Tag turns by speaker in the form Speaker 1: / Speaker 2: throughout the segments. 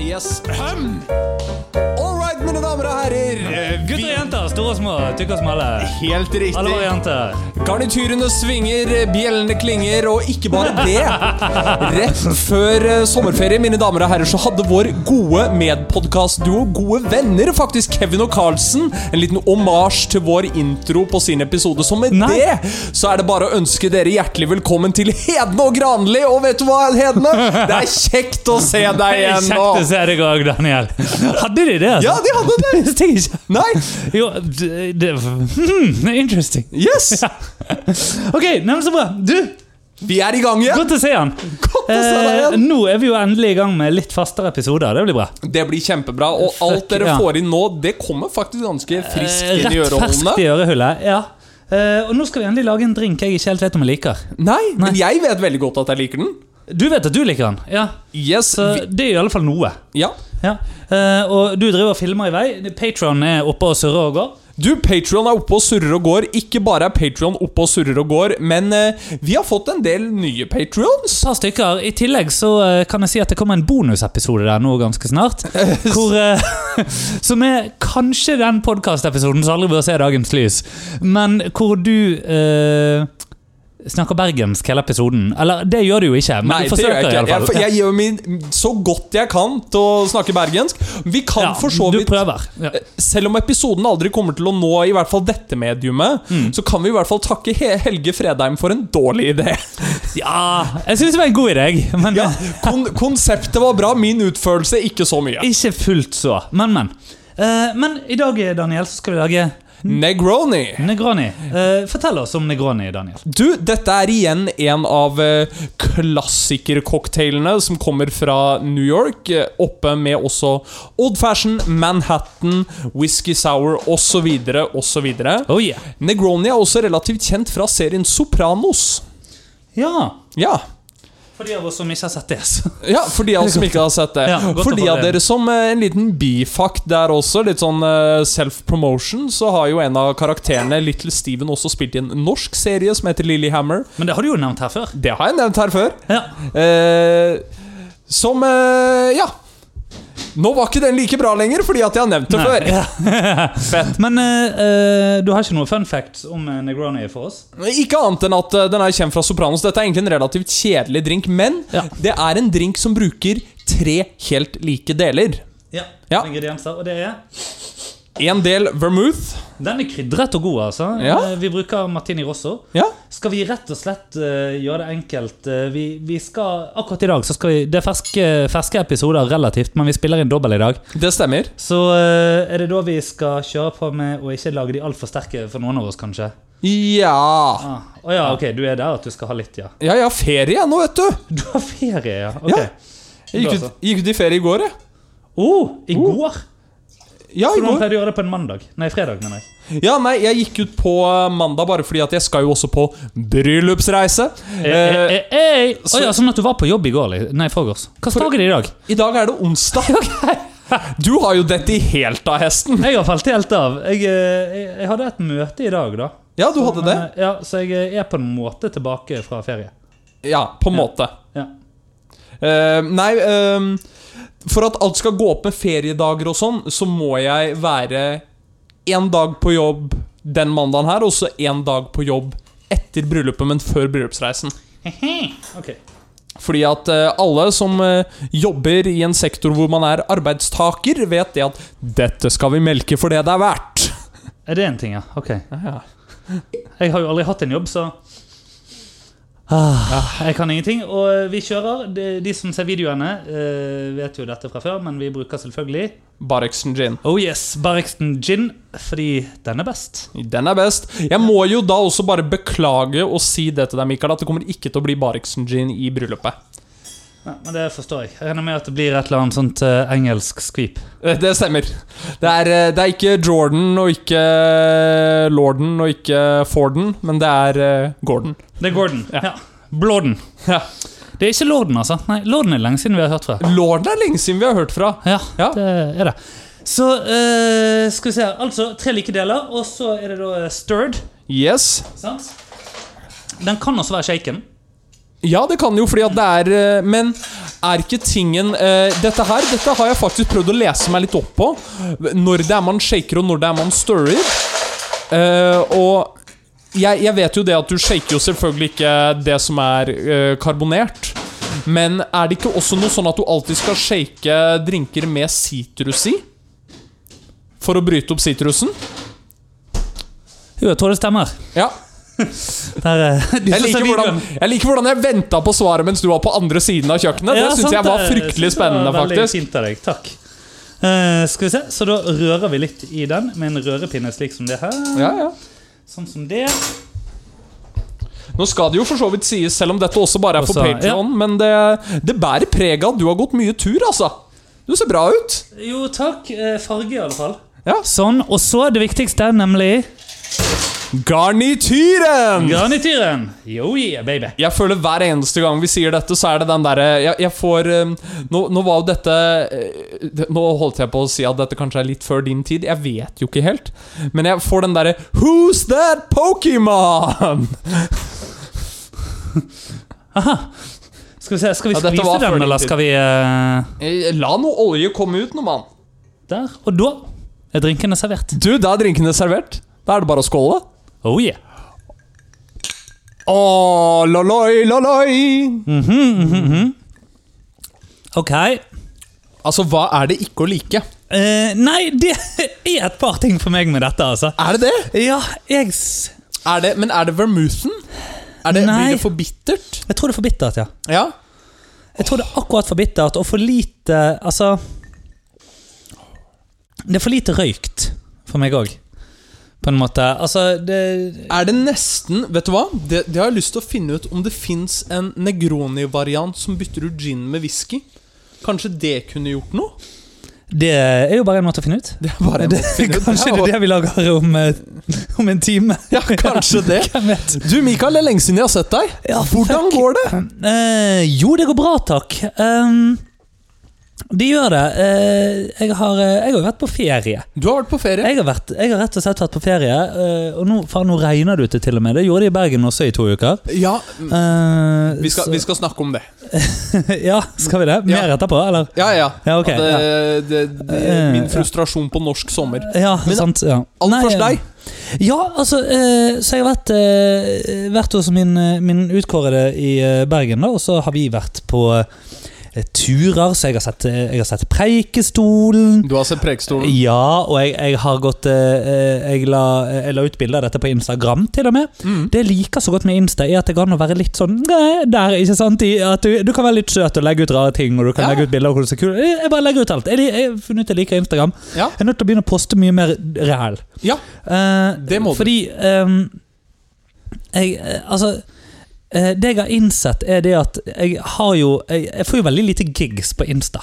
Speaker 1: Yes. Ahem. All right, mine damer og herrer. Eh,
Speaker 2: Gutter og jenter, store og små, tykke og smale.
Speaker 3: Helt
Speaker 2: Alle
Speaker 3: riktig.
Speaker 2: varianter.
Speaker 1: Garniturene svinger, bjellene klinger, og ikke bare det. Rett før eh, sommerferie mine damer og herrer, så hadde vår gode medpodkastduo, gode venner faktisk, Kevin og Carlsen, en liten omasj til vår intro på sin episode. Så med
Speaker 2: Nei.
Speaker 1: det så er det bare å ønske dere hjertelig velkommen til Hedne og Granli. Og vet du hva, Hedne? Det er kjekt å se deg igjen.
Speaker 2: Kjekt å
Speaker 1: Og...
Speaker 2: se deg òg, Daniel. Hadde de det? altså?
Speaker 1: Ja, de hadde det.
Speaker 2: Visste jeg ikke.
Speaker 1: Nei.
Speaker 2: Jo, det, det hmm, Interesting.
Speaker 1: Yes.
Speaker 2: Ok, neimen så bra. Du,
Speaker 1: Vi er i gang igjen.
Speaker 2: godt å se han. Eh,
Speaker 1: Godt å se deg igjen.
Speaker 2: nå er vi jo endelig i gang med litt fastere episoder. Det blir bra.
Speaker 1: Det blir kjempebra, og
Speaker 2: Fuck,
Speaker 1: alt dere
Speaker 2: ja.
Speaker 1: får inn nå, det kommer faktisk ganske friskt
Speaker 2: Eh,
Speaker 1: inn i
Speaker 2: Rett ferskt
Speaker 1: øreholdene.
Speaker 2: i ørehullet. Ja. Eh, og nå skal vi endelig lage en drink jeg ikke helt vet om jeg liker.
Speaker 1: Nei, men
Speaker 2: Nei.
Speaker 1: jeg vet veldig godt at jeg liker den.
Speaker 2: Du vet at du liker den? Ja.
Speaker 1: Yes,
Speaker 2: Så
Speaker 1: vi,
Speaker 2: det er i alle fall noe.
Speaker 1: ja.
Speaker 2: Ja. Eh, og du driver og filmer i vei. Patron er oppe og surrer og går.
Speaker 1: Du, Patreon er oppe og surrer og går. Ikke bare er Patreon oppe og surrer og går, men eh, vi har fått en del nye Patreons
Speaker 2: Et par stykker. I tillegg så eh, kan jeg si at det kommer en bonusepisode der nå ganske snart. Hvor, eh, som er kanskje den podkastepisoden som aldri bør se dagens lys. Men hvor du eh, snakker bergensk hele episoden. Eller det gjør du jo ikke, men
Speaker 1: Nei, det
Speaker 2: du
Speaker 1: gjør
Speaker 2: forsøker
Speaker 1: jeg ikke. Jeg,
Speaker 2: iallfall.
Speaker 1: jeg gjør min, så godt jeg kan til å snakke bergensk. Vi kan for så
Speaker 2: du
Speaker 1: vidt Eh.
Speaker 2: prøver. Ja.
Speaker 1: selv om episoden aldri kommer til å nå i hvert fall dette mediumet,
Speaker 2: Mm.
Speaker 1: så kan vi i hvert fall takke He- Helge Fredheim for en dårlig idé.
Speaker 2: ja Jeg syns det var en god idé, jeg, men
Speaker 1: Ja, kon konseptet var bra, min utførelse ikke så mye.
Speaker 2: ikke fullt så. Men, men. Eh, men i dag, Daniel, så skal vi lage
Speaker 1: Negroni.
Speaker 2: Negroni. Eh, fortell oss om Negroni, Daniel.
Speaker 1: Du, dette er igjen en av eh, klassikercocktailene som kommer fra New York. eh, Oppe med også Old Fashion, Manhattan, Whisky Sour osv. osv.
Speaker 2: Oh yeah.
Speaker 1: Negroni er også relativt kjent fra serien Sopranos.
Speaker 2: Ja.
Speaker 1: Ja,
Speaker 2: For de av oss som ikke har sett det. så-
Speaker 1: Ja, for de av oss som ikke har sett det.
Speaker 2: Ja, godt å
Speaker 1: for de
Speaker 2: få
Speaker 1: av
Speaker 2: det.
Speaker 1: dere som eh, en liten bifakt der også, litt sånn eh, self-promotion, så har jo en av karakterene, Little Steven, også spilt i en norsk serie som heter Lillehammer.
Speaker 2: Men det har du jo nevnt her før.
Speaker 1: Det har jeg nevnt her før.
Speaker 2: Ja.
Speaker 1: Eh, som eh, Ja. Nå var ikke den like bra lenger, fordi at jeg har nevnt det
Speaker 2: Nei.
Speaker 1: før.
Speaker 2: Ja.
Speaker 1: Fett.
Speaker 2: Men eh, eh, du har ikke noe fun facts om eh, Negroni for oss?
Speaker 1: Ikke annet enn at eh, den er kjent fra Sopranos. Dette er egentlig en relativt kjedelig drink, men
Speaker 2: Ja.
Speaker 1: det er en drink som bruker tre helt like deler.
Speaker 2: Ja.
Speaker 1: Ja.
Speaker 2: Ingredienser. Og det er
Speaker 1: En del vermouth.
Speaker 2: Den er krydret og god, altså.
Speaker 1: Ja.
Speaker 2: Eh, Vi bruker Martini Rosso.
Speaker 1: Ja.
Speaker 2: Skal vi rett og slett eh, gjøre det enkelt? Eh, vi, vi skal, akkurat i dag så skal vi Det er ferske, ferske episoder relativt, men vi spiller inn dobbel i dag.
Speaker 1: Det stemmer.
Speaker 2: Så eh, er det da vi skal kjøre på med å ikke lage de altfor sterke for noen av oss, kanskje?
Speaker 1: Ja
Speaker 2: Å ah. Å ja, ok, du er der at du skal ha litt, ja.
Speaker 1: Ja, jeg har ferie jeg nå, vet du.
Speaker 2: Du har ferie, ja. Ok.
Speaker 1: Ja. Jeg gikk ut, gikk ut i ferie i går, jeg.
Speaker 2: Oh, I går?
Speaker 1: Ja, i
Speaker 2: Hvordan
Speaker 1: går.
Speaker 2: pleide du å gjøre det på en mandag? Nei, fredag, mener jeg.
Speaker 1: ja, nei, jeg gikk ut på eh, mandag bare fordi at jeg skal jo også på bryllupsreise.
Speaker 2: Eh, eh,
Speaker 1: Eh,
Speaker 2: eh, eh.
Speaker 1: så-
Speaker 2: Å ja, sånn at du var på jobb i går? li- Nei, i forgårs. Hva slags dag er det i dag?
Speaker 1: I dag er det onsdag. Du har jo dette i helt av hesten.
Speaker 2: Jeg har falt helt av. Jeg, eh, jeg, jeg hadde et møte i dag, da.
Speaker 1: Ja, du hadde det.
Speaker 2: Men, eh, Ja, Så jeg eh, er på en måte tilbake fra ferie.
Speaker 1: Ja, på en måte.
Speaker 2: Ja.
Speaker 1: Eh, nei, eh, for at alt skal gå opp med feriedager og sånn, så må jeg være én dag på jobb den mandagen her, og så én dag på jobb etter bryllupet, men før bryllupsreisen.
Speaker 2: Ok.
Speaker 1: Fordi at eh, alle som eh, jobber i en sektor hvor man er arbeidstaker, vet det at 'dette skal vi melke for det det er verdt'.
Speaker 2: Er det en ting, ja? Ok. Jeg har jo aldri hatt en jobb, så ah, Jeg kan ingenting. Og eh, vi kjører. De, de som ser videoene, eh, vet jo dette fra før, men vi bruker selvfølgelig
Speaker 1: Barexen gin.
Speaker 2: Oh yes, Barrexton gin, fordi den er best.
Speaker 1: Den er best. Jeg må jo da også bare beklage og si det til deg, Mikael, at det kommer ikke til å bli Barexen gin i bryllupet.
Speaker 2: Ja, men Det forstår jeg. Jeg regner med at det blir et eller annet sånt eh, engelsk skvip.
Speaker 1: Eh, Det stemmer. Det er, eh, det er ikke Jordan og ikke eh, Lorden og ikke Forden, men det er eh, Gordon.
Speaker 2: Det er Gordon. Ja. Blorden.
Speaker 1: Ja.
Speaker 2: Det er ikke Lorden, altså. Nei, Lorden er lenge siden vi har hørt fra.
Speaker 1: Lorden er lenge siden vi har hørt fra.
Speaker 2: Ja,
Speaker 1: Ja.
Speaker 2: det er det. Så eh, skal vi se her. Altså tre like deler, og så er det da eh, stirred.
Speaker 1: Yes.
Speaker 2: Sant? Den kan også være shaken.
Speaker 1: Ja, det kan jo, fordi at det er eh, Men er ikke tingen eh, Dette her dette har jeg faktisk prøvd å lese meg litt opp på. Når det er man shaker, og når det er man stirrer. Eh, og jeg, jeg vet jo det at du shaker jo selvfølgelig ikke det som er eh, karbonert. Men er det ikke også noe sånn at du alltid skal shake drinker med sitrus i? For å bryte opp sitrusen?
Speaker 2: Jo, jeg tror det stemmer.
Speaker 1: Ja.
Speaker 2: Der, eh, du
Speaker 1: Jeg
Speaker 2: som ser
Speaker 1: liker
Speaker 2: videoen.
Speaker 1: hvordan jeg, liker hvordan jeg venta på svaret mens du var på andre siden av kjøkkenet.
Speaker 2: Ja,
Speaker 1: Det syns
Speaker 2: sant
Speaker 1: jeg var
Speaker 2: det.
Speaker 1: fryktelig
Speaker 2: Synes det var
Speaker 1: spennende,
Speaker 2: Veldig
Speaker 1: faktisk.
Speaker 2: fint av deg, takk. Eh, skal vi se, så da rører vi litt i den med en rørepinne slik som det her.
Speaker 1: Ja, ja.
Speaker 2: Sånn som det.
Speaker 1: Nå skal det jo for så vidt sies, selv om dette også bare er for
Speaker 2: Også-
Speaker 1: Patreon men det, det bærer preg av at du har gått mye tur, altså. Du ser bra ut.
Speaker 2: Jo, takk. Eh, farge, i alle fall.
Speaker 1: Ja.
Speaker 2: Sånn, og så det viktigste, nemlig
Speaker 1: Garnityren!
Speaker 2: garnityren. Yo yeah, baby.
Speaker 1: Jeg føler hver eneste gang vi sier dette, så er det den derre jeg, jeg får eh, nå, nå var jo dette eh, det- Nå holdt jeg på å si at dette kanskje er litt før din tid. Jeg vet jo ikke helt. Men jeg får den derre Who's that Pokémon?
Speaker 2: Skal vi se, skal vi
Speaker 1: Ja, dette
Speaker 2: skvise
Speaker 1: var før
Speaker 2: den,
Speaker 1: din
Speaker 2: eller
Speaker 1: tid.
Speaker 2: skal vi eh,
Speaker 1: Eh, La noe olje komme ut nå, mann.
Speaker 2: Der. Og da er drinkene servert.
Speaker 1: Du, da er drinkene servert. Da er det bare å skåle.
Speaker 2: Oh yeah.
Speaker 1: Åh, loloi, loloi.
Speaker 2: Ok.
Speaker 1: Altså, hva er det ikke å like?
Speaker 2: Eh, nei, det er et par ting for meg med dette, altså.
Speaker 1: Er det det?
Speaker 2: Ja, jeg s-
Speaker 1: Er det men er det vermouthen? Er det,
Speaker 2: Nei.
Speaker 1: blir det for bittert?
Speaker 2: Jeg tror det er for bittert, ja.
Speaker 1: Ja.
Speaker 2: Jeg tror det er akkurat for bittert og for lite Altså Det er for lite røykt for meg òg, på en måte. Altså, det
Speaker 1: Er det nesten Vet du hva? Det, det har jeg lyst til å finne ut om det fins en Negroni-variant som bytter ut gin med whisky. Kanskje det kunne gjort noe?
Speaker 2: Det er jo bare en måte å finne ut.
Speaker 1: Det er bare en måte å finne ut.
Speaker 2: Kanskje det er det vi lager om, eh, om en time.
Speaker 1: Ja, kanskje det.
Speaker 2: Hvem vet?
Speaker 1: Du, Mikael, det er lenge siden jeg har sett deg.
Speaker 2: Ja,
Speaker 1: Hvordan
Speaker 2: fuck.
Speaker 1: går det?
Speaker 2: Eh, jo, det går bra, takk. Um, det gjør det. Eh, jeg, har, eh, jeg har vært på ferie.
Speaker 1: Du har vært på ferie.
Speaker 2: Jeg har, vært, jeg har rett og slett vært på ferie. eh, og nå, faen, nå regner det ute, til og med. Det gjorde det i Bergen også i to uker.
Speaker 1: Ja,
Speaker 2: Eh,
Speaker 1: vi skal,
Speaker 2: så-
Speaker 1: vi skal snakke om det.
Speaker 2: ja, skal vi det? Mer
Speaker 1: Ja.
Speaker 2: etterpå, eller?
Speaker 1: Ja, ja.
Speaker 2: Ja, ok,
Speaker 1: At det, Det, det,
Speaker 2: Eh,
Speaker 1: min
Speaker 2: ja.
Speaker 1: frustrasjon på norsk sommer.
Speaker 2: Ja,
Speaker 1: Men-
Speaker 2: sant. Ja.
Speaker 1: Aller
Speaker 2: Nei,
Speaker 1: først
Speaker 2: eh,
Speaker 1: deg.
Speaker 2: Ja, altså, eh, så jeg har vært, eh, vært hos min, eh, min utkårede i eh, Bergen, da, og så har vi vært på eh, turer, så jeg har sett, eh, jeg har sett Preikestolen.
Speaker 1: Du har sett Prekestolen.
Speaker 2: Ja, og jeg, jeg har gått eh, eh, jeg, la, jeg la ut bilder av dette på Instagram, til og med.
Speaker 1: Mm.
Speaker 2: Det jeg liker så godt med Insta, er at det går an å være litt sånn «Nei, der, ikke sant? I, at du, du kan være litt søt og legge ut rare ting, og du kan
Speaker 1: Ja.
Speaker 2: legge ut bilder av hvordan det ser kul Jeg jeg bare legger ut alt. Jeg, li- jeg har funnet ut jeg liker Instagram.
Speaker 1: Ja.
Speaker 2: Jeg er nødt til å begynne å poste mye mer reell.
Speaker 1: Ja.
Speaker 2: Eh,
Speaker 1: Det må du.
Speaker 2: Fordi ehm, jeg, eh, Altså eh, det jeg har innsett, er det at jeg har jo Jeg, jeg får jo veldig lite gigs på Insta.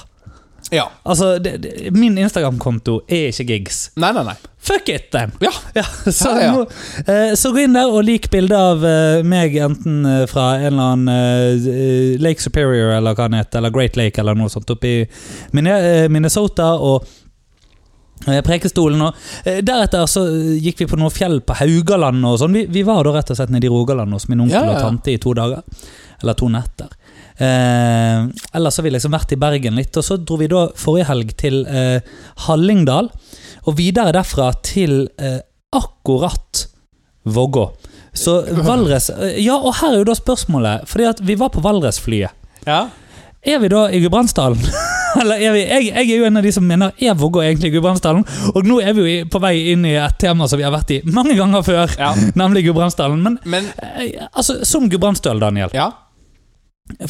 Speaker 1: ja.
Speaker 2: Altså, det, det, Min Instagram-konto er ikke gigs.
Speaker 1: Nei, nei, nei.
Speaker 2: Fuck it, then!
Speaker 1: Ja.
Speaker 2: Ja, så,
Speaker 1: Ja, ja.
Speaker 2: Nå, eh, så gå inn der og lik bilde av eh, meg, enten eh, fra en eller annen eh, Lake Superior eller hva den heter, eller Great Lake eller noe sånt, oppe i Minne- eh, Minnesota og eh, Prekestolen. Og, eh, deretter så eh, gikk vi på noe fjell på Haugaland og sånn. Vi, vi var da rett og slett nede i Rogaland hos min onkel
Speaker 1: Ja, ja, ja.
Speaker 2: og tante i to dager. Eller to netter. Eh, ellers har vi liksom vært i Bergen litt, og så dro vi da forrige helg til eh, Hallingdal. Og videre derfra til eh, akkurat Vågå. Så Valdres eh, Ja, og her er jo da spørsmålet, fordi at vi var på Valdresflyet.
Speaker 1: Ja.
Speaker 2: Er vi da i Gudbrandsdalen? Eller er vi, jeg, jeg er jo en av de som mener er Vågå egentlig Gudbrandsdalen. Og nå er vi jo i- på vei inn i et tema som vi har vært i mange ganger før,
Speaker 1: Ja.
Speaker 2: nemlig Gudbrandsdalen. Men
Speaker 1: Men
Speaker 2: eh, altså, som Gudbrandsdøl, Daniel.
Speaker 1: Ja.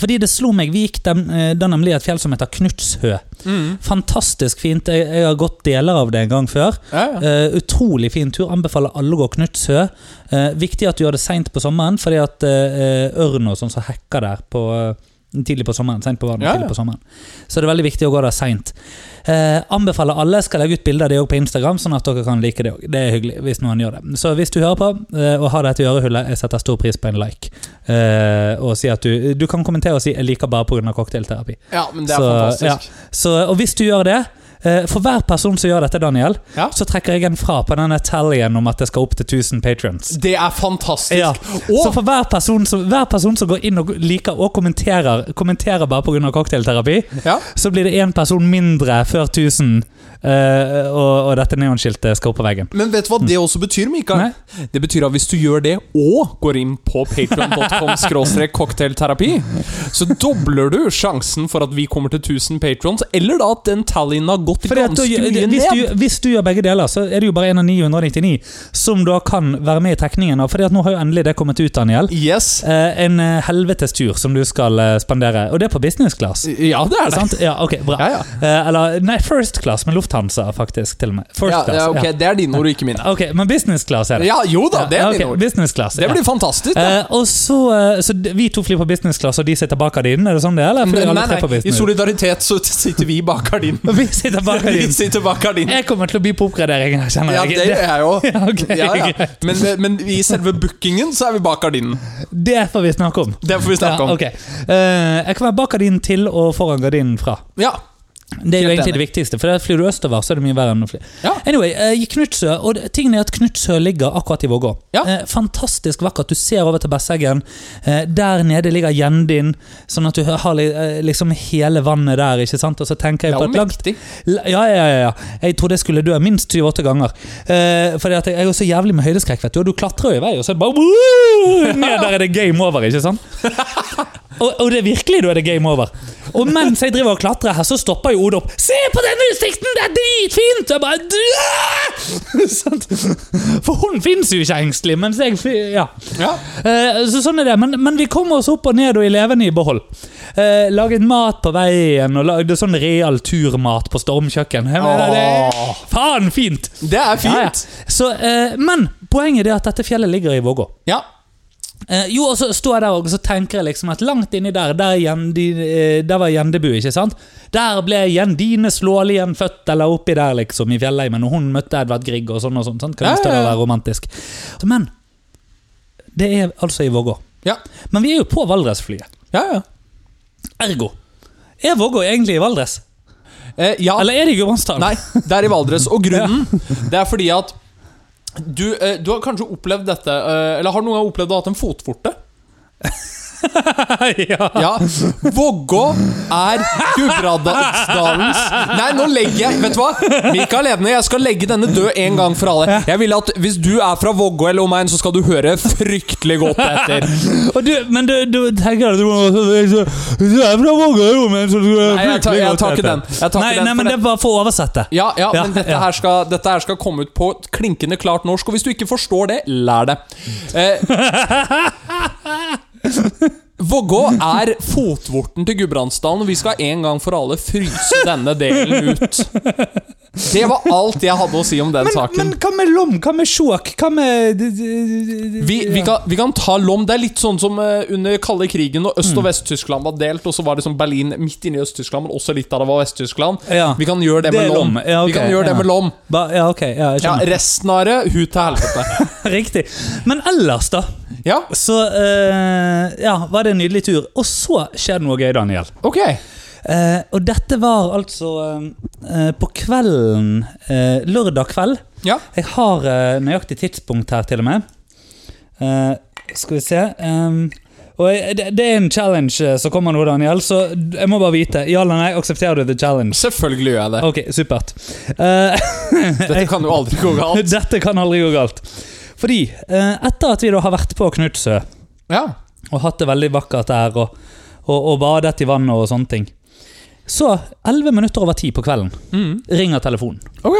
Speaker 2: Fordi det slo meg, vi gikk dem, eh, da nemlig et fjell som heter Knutshø.
Speaker 1: Mm.
Speaker 2: Fantastisk fint. Jeg, jeg har gått deler av det en gang før.
Speaker 1: ja, ja.
Speaker 2: Eh, utrolig fin tur. Anbefaler alle å gå Knutshø. Eh, viktig at du gjør det seint på sommeren, fordi at eh, ørn og sånn som hekker der på, eh, tidlig på sommeren, sent på vannet,
Speaker 1: Ja, ja.
Speaker 2: tidlig på sommeren. Så det er veldig viktig å gå der seint. Eh, anbefaler alle. Skal legge ut bilder av det også på Instagram, sånn at dere kan like det òg. Det er hyggelig hvis noen gjør det. Så hvis du hører på eh, og har dette i ørehullet, jeg setter stor pris på en like. Eh, og si at du, du kan kommentere og si 'jeg liker bare pga. cocktailterapi'.
Speaker 1: ja men det er
Speaker 2: Så,
Speaker 1: fantastisk.
Speaker 2: Så, og hvis du gjør det, eh, Eh, For hver person som gjør dette, Daniel,
Speaker 1: Ja.
Speaker 2: så trekker jeg en fra på denne tallyen om at det skal opp til 1000 patrions.
Speaker 1: Det er fantastisk.
Speaker 2: Ja. Så
Speaker 1: Og
Speaker 2: for hver person, som, hver person som går inn og liker og kommenterer, kommenterer bare pga. cocktailterapi,
Speaker 1: ja.
Speaker 2: så blir det én person mindre før 1000, eh, og, og dette neonskiltet skal opp på veggen.
Speaker 1: Men vet du hva det også betyr, Mikael? Det betyr at hvis du gjør det og går inn på patreon.com cocktailterapi, så dobler du sjansen for at vi kommer til 1000 patrons, eller da at den tallyen har gått
Speaker 2: Fordi at
Speaker 1: ganske
Speaker 2: da,
Speaker 1: mye
Speaker 2: hvis,
Speaker 1: ned.
Speaker 2: du, hvis du gjør begge deler, så er det jo bare en av 999 som da kan være med i trekningen. av, Fordi at nå har jo endelig det kommet ut, Daniel.
Speaker 1: Yes.
Speaker 2: Eh, en eh, helvetes tur som du skal eh, spandere. Og det er på business class.
Speaker 1: Ja, det er det.
Speaker 2: Sant? Ja, ok, bra.
Speaker 1: Ja, ja.
Speaker 2: Eh, eller nei, first class med Lufthansa, faktisk. til og med. First
Speaker 1: Ja,
Speaker 2: class,
Speaker 1: ja, ok, Det er dine ord, ikke mine.
Speaker 2: ja. ok, Men business class er det.
Speaker 1: Ja, jo da, det er
Speaker 2: Ja, ok,
Speaker 1: dine ord.
Speaker 2: Business class.
Speaker 1: Det
Speaker 2: ja.
Speaker 1: blir fantastisk. da.
Speaker 2: Eh, og så, eh, så d- Vi to flyr på business class, og de sitter bak gardinen? Er det sånn det er? Eller? Fordi
Speaker 1: Nei,
Speaker 2: alle tre på
Speaker 1: nei, I
Speaker 2: business.
Speaker 1: solidaritet så sitter vi bak gardinen.
Speaker 2: Vi sitter bak
Speaker 1: Vi
Speaker 2: gardinen.
Speaker 1: sitter bak gardinen.
Speaker 2: Jeg kommer til å by på oppgraderingen her, kjenner
Speaker 1: Ja,
Speaker 2: jeg.
Speaker 1: det gjør jeg jo.
Speaker 2: Ja, ok,
Speaker 1: Ja, ja. Men, men i selve bookingen så er vi bak gardinen.
Speaker 2: Det får vi snakke om.
Speaker 1: Det får vi snakke om.
Speaker 2: Ja, ok. Eh, jeg kan være bak gardinen til og foran gardinen fra.
Speaker 1: Ja.
Speaker 2: Det er jo
Speaker 1: Helt
Speaker 2: egentlig
Speaker 1: enig.
Speaker 2: det viktigste, for der flyr du østover, så er det mye verre enn å fly.
Speaker 1: Ja.
Speaker 2: Anyway, eh, i Knutsø, og det- tingen er at Knutsø ligger akkurat i Vågå.
Speaker 1: Ja.
Speaker 2: Eh, fantastisk vakkert. Du ser over til Besseggen. Eh, der nede ligger Gjendin, sånn at du har li- eh, liksom hele vannet der, ikke sant? Og så tenker
Speaker 1: Det
Speaker 2: jeg på
Speaker 1: er
Speaker 2: et
Speaker 1: jo
Speaker 2: langt
Speaker 1: mektig.
Speaker 2: La- Ja, ja, ja, ja. Jeg trodde jeg skulle dø minst 28 ganger. Eh, fordi at jeg er jo så jævlig med høydeskrekk, vet du. Og du klatrer jo i vei, og så er det bare «Woo!» Ned der er det game over, ikke sant? Og, og det er virkelig da er det game over. Og mens jeg driver og klatrer her, så stopper jo Oda opp. 'Se på den utsikten! Det er dritfint!' Jeg bare «Dø!» Sant? For hun fins jo ikke engstelig, mens jeg fly... Ja.
Speaker 1: Ja.
Speaker 2: Eh, Så sånn er det, men, men vi kom oss opp og ned og i levende i behold. Eh, laget mat på veien og lagde sånn real turmat på stormkjøkken. Jeg mener, det er
Speaker 1: Åh.
Speaker 2: faen fint!
Speaker 1: Det er
Speaker 2: Ja, ja.
Speaker 1: fint.
Speaker 2: Så, eh, men poenget er det at dette fjellet ligger i Vågå.
Speaker 1: Ja.
Speaker 2: Eh, jo, og så står jeg der og så tenker jeg liksom at langt inni der Der, er Gjendi, eh, der var Gjendebu, ikke sant? Der ble Gjendine Slålien født, eller oppi der, liksom, i fjellheimen. Og hun møtte Edvard Grieg og sånn og sånn. sant? Kan
Speaker 1: Ja,
Speaker 2: jo
Speaker 1: ja,
Speaker 2: større
Speaker 1: ja.
Speaker 2: være romantisk. Men det er altså i Vågå.
Speaker 1: Ja.
Speaker 2: Men vi er jo på Valdresflyet.
Speaker 1: Ja, ja.
Speaker 2: Ergo. Er Vågå egentlig i Valdres?
Speaker 1: Eh, ja.
Speaker 2: Eller er det i Gudbrandsdalen?
Speaker 1: Nei, det er i Valdres. Og grunnen, det er fordi at du, eh, du har kanskje opplevd dette eh, Eller har noen gang opplevd å ha hatt en fotvorte?
Speaker 2: ja.
Speaker 1: Ja. Vågå er Gudbrandsdalens Nei, nå legger jeg Vet du hva? Mikael Evne, jeg skal legge denne død en gang for alle. Jeg vil at Hvis du er fra Vågå eller omegn, så skal du høre fryktelig godt etter.
Speaker 2: Og du, men du, du tenker at du må Hvis du er fra Vågå, jo, men så skulle
Speaker 1: Nei, jeg tar- jeg tar ikke den. Jeg tar ikke
Speaker 2: nei,
Speaker 1: den,
Speaker 2: nei,
Speaker 1: for
Speaker 2: men
Speaker 1: det-
Speaker 2: det er bare for å oversette.
Speaker 1: Ja, ja,
Speaker 2: Ja,
Speaker 1: men dette,
Speaker 2: ja.
Speaker 1: Her skal, dette her skal komme ut på et klinkende klart norsk, og hvis du ikke forstår det, lær det. Eh, Vågå er fotvorten til Gudbrandsdalen, og vi skal en gang for alle fryse denne delen ut. Det var alt jeg hadde å si om den saken.
Speaker 2: Men hva med Lom? Hva med Skjåk? Hva med d- d- d-
Speaker 1: Vi, vi, kan, vi kan ta Lom. Det er litt sånn som eh, under kalde krigen, og
Speaker 2: Mm.
Speaker 1: Øst- og Vest-Tyskland var delt, og så var det sånn Berlin midt inne i Øst-Tyskland, men også litt av det var Vest-Tyskland.
Speaker 2: Ja.
Speaker 1: Vi kan gjøre det
Speaker 2: Det
Speaker 1: med
Speaker 2: er
Speaker 1: Lom.
Speaker 2: Lom. Ja, ok,
Speaker 1: Vi kan gjøre
Speaker 2: ja.
Speaker 1: det med Lom.
Speaker 2: Ba, ja, ok. Ja, jeg
Speaker 1: Ja,
Speaker 2: skjønner.
Speaker 1: resten av det, hut til helvete.
Speaker 2: Riktig. Men ellers, da,
Speaker 1: Ja,
Speaker 2: så eh, Ja, var det en nydelig tur. Og så skjer det noe gøy, Daniel.
Speaker 1: ok.
Speaker 2: Eh, og dette var altså eh, eh, på kvelden eh, Lørdag kveld.
Speaker 1: Ja.
Speaker 2: Jeg har eh, nøyaktig tidspunkt her, til og med. Eh, skal vi se ehm, og jeg, det, det er en challenge eh, som kommer nå, Daniel, så d- jeg må bare vite. Ja eller nei, aksepterer du the challenge?
Speaker 1: Selvfølgelig gjør jeg det.
Speaker 2: Ok, supert. Eh,
Speaker 1: Dette kan jo aldri gå galt.
Speaker 2: dette kan aldri gå galt. Fordi, eh, etter at vi da har vært på Knutsø
Speaker 1: Ja.
Speaker 2: og hatt det veldig vakkert der, og, og, og badet i vannet og sånne ting. Så, 11 minutter over 10 på kvelden,
Speaker 1: Mm.
Speaker 2: ringer telefonen.
Speaker 1: Ok.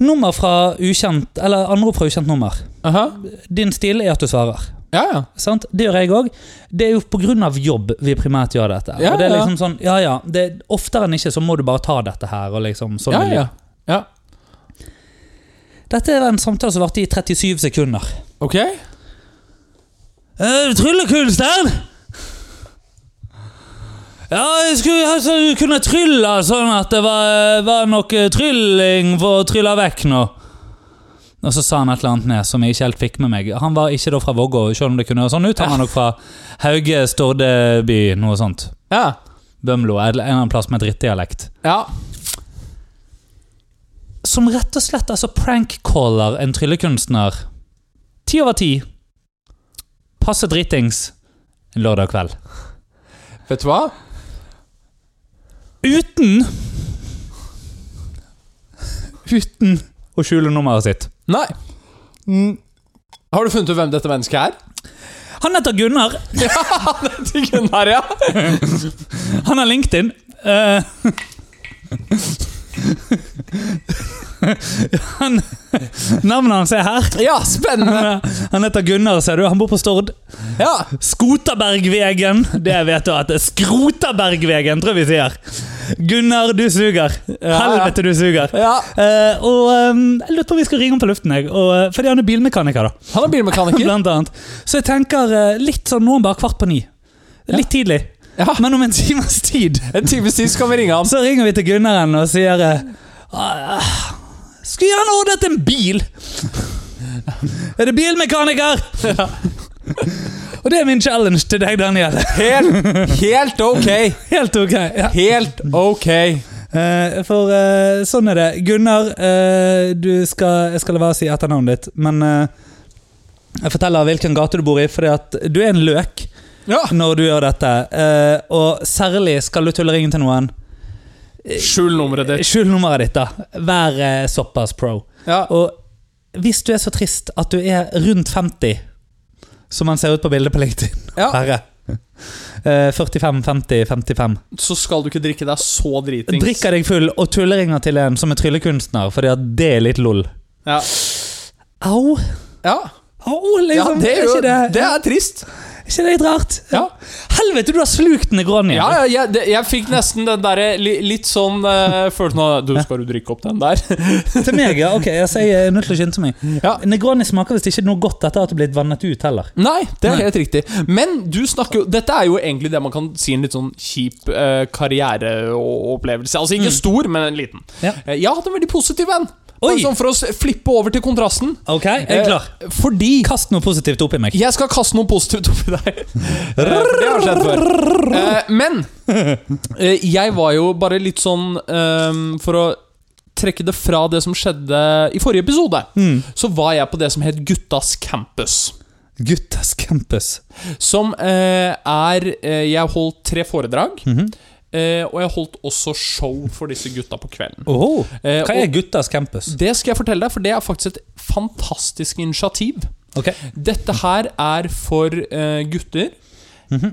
Speaker 2: Nummer fra ukjent, eller anrop fra ukjent nummer.
Speaker 1: Aha.
Speaker 2: Din stil er at du svarer.
Speaker 1: Ja, ja.
Speaker 2: Sant? Det gjør jeg òg. Det er jo pga. jobb vi primært gjør dette.
Speaker 1: Ja,
Speaker 2: og det er
Speaker 1: ja.
Speaker 2: liksom sånn, ja, ja, det, Oftere enn ikke så må du bare ta dette her. Og liksom, sånn
Speaker 1: Ja,
Speaker 2: er
Speaker 1: ja.
Speaker 2: livet.
Speaker 1: ja.
Speaker 2: Dette er en samtale som varte i 37 sekunder.
Speaker 1: Ok.
Speaker 2: Eh, Tryllekunstneren! Ja, jeg skulle altså, du kunne trylle sånn at det var, var noe trylling for å trylle vekk nå. Og så sa han et eller annet ned som jeg ikke helt fikk med meg. Han var ikke da fra Vågå, selv om det kunne høres sånn ut. Han var nok fra Hauge, Stordeby, noe sånt.
Speaker 1: Ja.
Speaker 2: Bømlo, en eller annen plass med drittdialekt.
Speaker 1: Ja.
Speaker 2: som rett og slett altså prankcaller en tryllekunstner. Ti over ti. Passe dritings en lørdag kveld.
Speaker 1: Vet du hva?
Speaker 2: Uten Uten å skjule nummeret sitt.
Speaker 1: Nei. Mm. Har du funnet ut hvem dette mennesket er?
Speaker 2: Han heter Gunnar.
Speaker 1: Til Gunnar, ja.
Speaker 2: Han har LinkedIn. Eh, han, navnet hans er her.
Speaker 1: Ja, spennende.
Speaker 2: Han, er- han heter Gunnar, ser du. Han bor på Stord.
Speaker 1: Ja.
Speaker 2: Skotabergvegen. Det vet du at det er. Skrotabergvegen, tror jeg vi sier. Gunnar, du suger.
Speaker 1: ja.
Speaker 2: Helvete, du suger.
Speaker 1: ja.
Speaker 2: Eh, og ehm, jeg lurer på om vi skal ringe ham på luften, jeg. Og, eh, fordi han er bilmekaniker, da.
Speaker 1: Han er bilmekaniker.
Speaker 2: Blant annet. Så jeg tenker eh, litt sånn nå er han bare kvart på ni. Litt tidlig.
Speaker 1: Ja.
Speaker 2: Men om en times tid
Speaker 1: En times tid skal vi ringe ham.
Speaker 2: så ringer vi til Gunnaren og sier eh, «Ah, Skulle gjerne ordnet en bil! Er det bilmekaniker? Og det er min challenge til deg, Daniel.
Speaker 1: Helt, helt ok.
Speaker 2: Helt ok. Ja.
Speaker 1: Helt ok.
Speaker 2: Eh, for eh, sånn er det. Gunnar, eh, du skal, jeg skal la være å si etternavnet ditt, men eh, jeg forteller hvilken gate du bor i, fordi at du er en løk
Speaker 1: Ja.
Speaker 2: når du gjør dette. Eh, og særlig skal du tulle ringen til noen.
Speaker 1: Skjul nummeret ditt.
Speaker 2: Skjul nummeret ditt, da. Vær eh, såpass pro.
Speaker 1: Ja.
Speaker 2: Og hvis du er så trist at du er rundt 50, som man ser ut på bildet på LinkedIn
Speaker 1: ja.
Speaker 2: Herre. Eh, 45, 50, 55.
Speaker 1: Så skal du ikke drikke deg så dritings.
Speaker 2: Drikker deg full og tulleringer til en som er tryllekunstner, fordi at det er litt lol.
Speaker 1: Ja.
Speaker 2: Au!
Speaker 1: ja.
Speaker 2: Au,
Speaker 1: ja
Speaker 2: liksom.
Speaker 1: det, er jo,
Speaker 2: ikke det,
Speaker 1: det er trist.
Speaker 2: er ikke det litt rart?
Speaker 1: Ja.
Speaker 2: Helvete, du har slukt Negroni!
Speaker 1: Ja, ja jeg, det, jeg fikk nesten den derre li, litt sånn uh, følelsen av Du, skal du drikke opp den der?
Speaker 2: Til meg, ja. Ok, altså, jeg er nødt til å skynde meg.
Speaker 1: Ja.
Speaker 2: Negroni smaker visst ikke noe godt etter at det er blitt vannet ut, heller.
Speaker 1: Nei, det er
Speaker 2: Nei.
Speaker 1: helt riktig. Men du snakker jo Dette er jo egentlig det man kan si en litt sånn kjip eh, karriereopplevelse. Altså ikke stor, men en liten.
Speaker 2: Ja.
Speaker 1: Eh, jeg hadde en veldig positiv en.
Speaker 2: Oi!
Speaker 1: Bare Sånn for å s- flippe over til kontrasten.
Speaker 2: Ok, jeg er klar.
Speaker 1: Eh, fordi
Speaker 2: Kast noe positivt oppi meg.
Speaker 1: jeg skal kaste noe positivt oppi deg. Eh, for det har skjedd før. Eh, men eh, jeg var jo bare litt sånn eh, For å trekke det fra det som skjedde i forrige episode, så var jeg på det som het Guttas campus.
Speaker 2: Guttas campus.
Speaker 1: Som eh, er eh, Jeg holdt tre foredrag. eh, og jeg holdt også show for disse gutta på kvelden.
Speaker 2: Oho.
Speaker 1: Eh,
Speaker 2: Oh. Hva er guttas campus?
Speaker 1: Det skal jeg fortelle deg, for det er faktisk et fantastisk initiativ.
Speaker 2: Ok.
Speaker 1: Dette her er for eh, gutter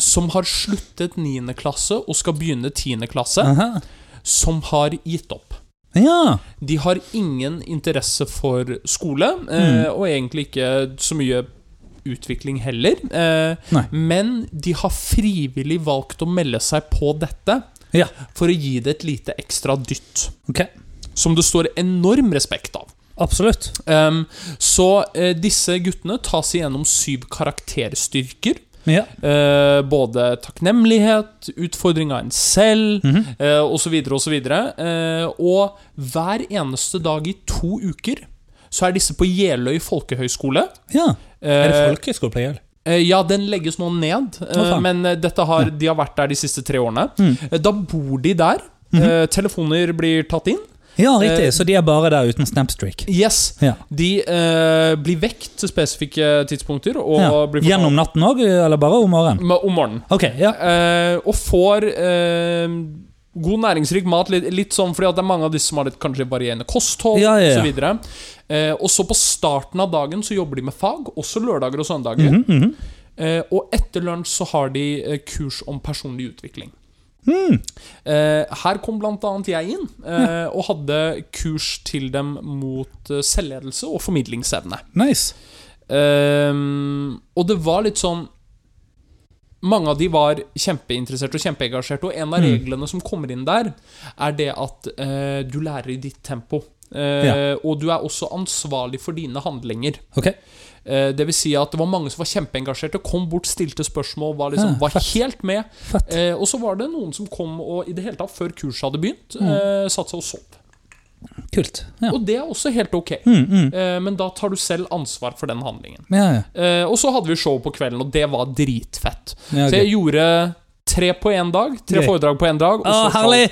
Speaker 1: som har sluttet 9. klasse og skal begynne 10. klasse,
Speaker 2: Aha.
Speaker 1: som har gitt opp.
Speaker 2: Ja.
Speaker 1: De har ingen interesse for skole, eh, og egentlig ikke så mye utvikling heller. Eh,
Speaker 2: Nei.
Speaker 1: men de har frivillig valgt å melde seg på dette
Speaker 2: Ja.
Speaker 1: for å gi det et lite ekstra dytt.
Speaker 2: Ok.
Speaker 1: Som det står enorm respekt av.
Speaker 2: Absolutt.
Speaker 1: Ehm, så eh, disse guttene tas igjennom syv karakterstyrker.
Speaker 2: Ja.
Speaker 1: Eh, både takknemlighet, utfordring av en selv,
Speaker 2: Mhm.
Speaker 1: eh, osv., osv. Eh, og hver eneste dag i to uker så er disse på Jeløy folkehøgskole.
Speaker 2: ja.
Speaker 1: Eh,
Speaker 2: Er det folkehøyskole på Gjøl?
Speaker 1: eh, Ja, den legges nå ned, eh,
Speaker 2: Å, faen. Mm.
Speaker 1: men eh, dette har, de har vært der de siste tre årene. Eh, Da bor de der.
Speaker 2: Mhm.
Speaker 1: eh, telefoner blir tatt inn.
Speaker 2: Ja,
Speaker 1: Eh,
Speaker 2: riktig. Så de er bare der uten snapstreak.
Speaker 1: Yes.
Speaker 2: Ja.
Speaker 1: De eh, blir vekt til spesifikke tidspunkter. Og
Speaker 2: ja.
Speaker 1: blir fortalt- Mm.
Speaker 2: Gjennom natten òg, eller bare om morgenen?
Speaker 1: Om om morgenen.
Speaker 2: Ok, ja.
Speaker 1: Eh, og får eh, god næringsrik mat, litt, litt sånn fordi at det er mange av disse som har litt kanskje varierende kosthold
Speaker 2: Ja, ja, ja.
Speaker 1: osv. Eh, og så på starten av dagen så jobber de med fag, også lørdager og søndager.
Speaker 2: Mhm, mhm.
Speaker 1: eh, og etter lunsj så har de eh, kurs om personlig utvikling.
Speaker 2: Hmm.
Speaker 1: Eh, her kom blant annet jeg inn eh, og hadde kurs til dem mot eh, selvledelse og formidlingsevne.
Speaker 2: Nice.
Speaker 1: Ehm, og det var litt sånn Mange av de var kjempeinteresserte og kjempeengasjerte, og
Speaker 2: Mm.
Speaker 1: en av reglene som kommer inn der, er det at eh, du lærer i ditt tempo. Eh, Og du er også ansvarlig for dine handlinger.
Speaker 2: Ok.
Speaker 1: Eh, det vil si at det var mange som var kjempeengasjerte, kom bort, stilte spørsmål, var, liksom,
Speaker 2: Ja,
Speaker 1: var
Speaker 2: fett.
Speaker 1: helt med.
Speaker 2: Fett.
Speaker 1: Eh, og så var det noen som kom og i det hele tatt, før kurset hadde begynt, eh, satte seg og sov.
Speaker 2: Kult. Mm. Ja.
Speaker 1: Og det er også helt ok.
Speaker 2: Mm, mm.
Speaker 1: Eh, men da tar du selv ansvar for den handlingen.
Speaker 2: Ja, ja.
Speaker 1: Eh, og så hadde vi show på kvelden, og det var dritfett.
Speaker 2: ja
Speaker 1: Så jeg
Speaker 2: okay.
Speaker 1: gjorde tre på én dag. Tre
Speaker 2: Gøy.
Speaker 1: foredrag på én dag. og
Speaker 2: Å,
Speaker 1: så show.
Speaker 2: Ah, herlig! Mm.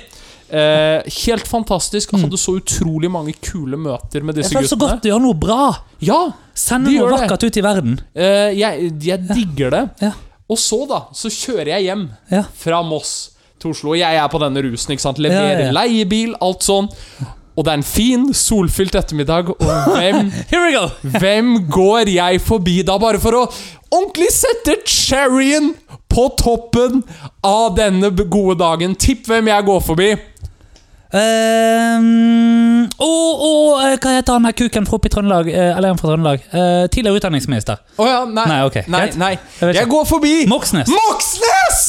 Speaker 1: Eh, helt fantastisk. Hadde så utrolig mange kule møter med disse
Speaker 2: Det er så
Speaker 1: guttene.
Speaker 2: godt å gjøre noe bra!
Speaker 1: Ja,
Speaker 2: Sende
Speaker 1: De
Speaker 2: noe
Speaker 1: gjør det.
Speaker 2: vakkert ut i verden.
Speaker 1: eh, jeg, jeg digger det.
Speaker 2: Ja.
Speaker 1: Og så, da, så kjører jeg hjem
Speaker 2: Ja.
Speaker 1: fra Moss til Oslo. Jeg er på denne rusen, ikke sant. Leverer
Speaker 2: Ja, ja.
Speaker 1: leiebil, alt sånn. Og det er en fin, solfylt ettermiddag, og hvem,
Speaker 2: Here we go!
Speaker 1: hvem går jeg forbi da, bare for å ordentlig sette cherryen på toppen av denne b- gode dagen? Tipp hvem jeg går forbi.
Speaker 2: Ehm, Å, å, eh, hva heter han her kuken fra oppe i Trøndelag? Eh, Eller han fra Trøndelag? Eh, tidligere utdanningsminister.
Speaker 1: Å ja, nei.
Speaker 2: Nei, ok,
Speaker 1: nei,
Speaker 2: greit.
Speaker 1: nei.
Speaker 2: Jeg vet
Speaker 1: Jeg går forbi
Speaker 2: Moxnes.
Speaker 1: Moxnes!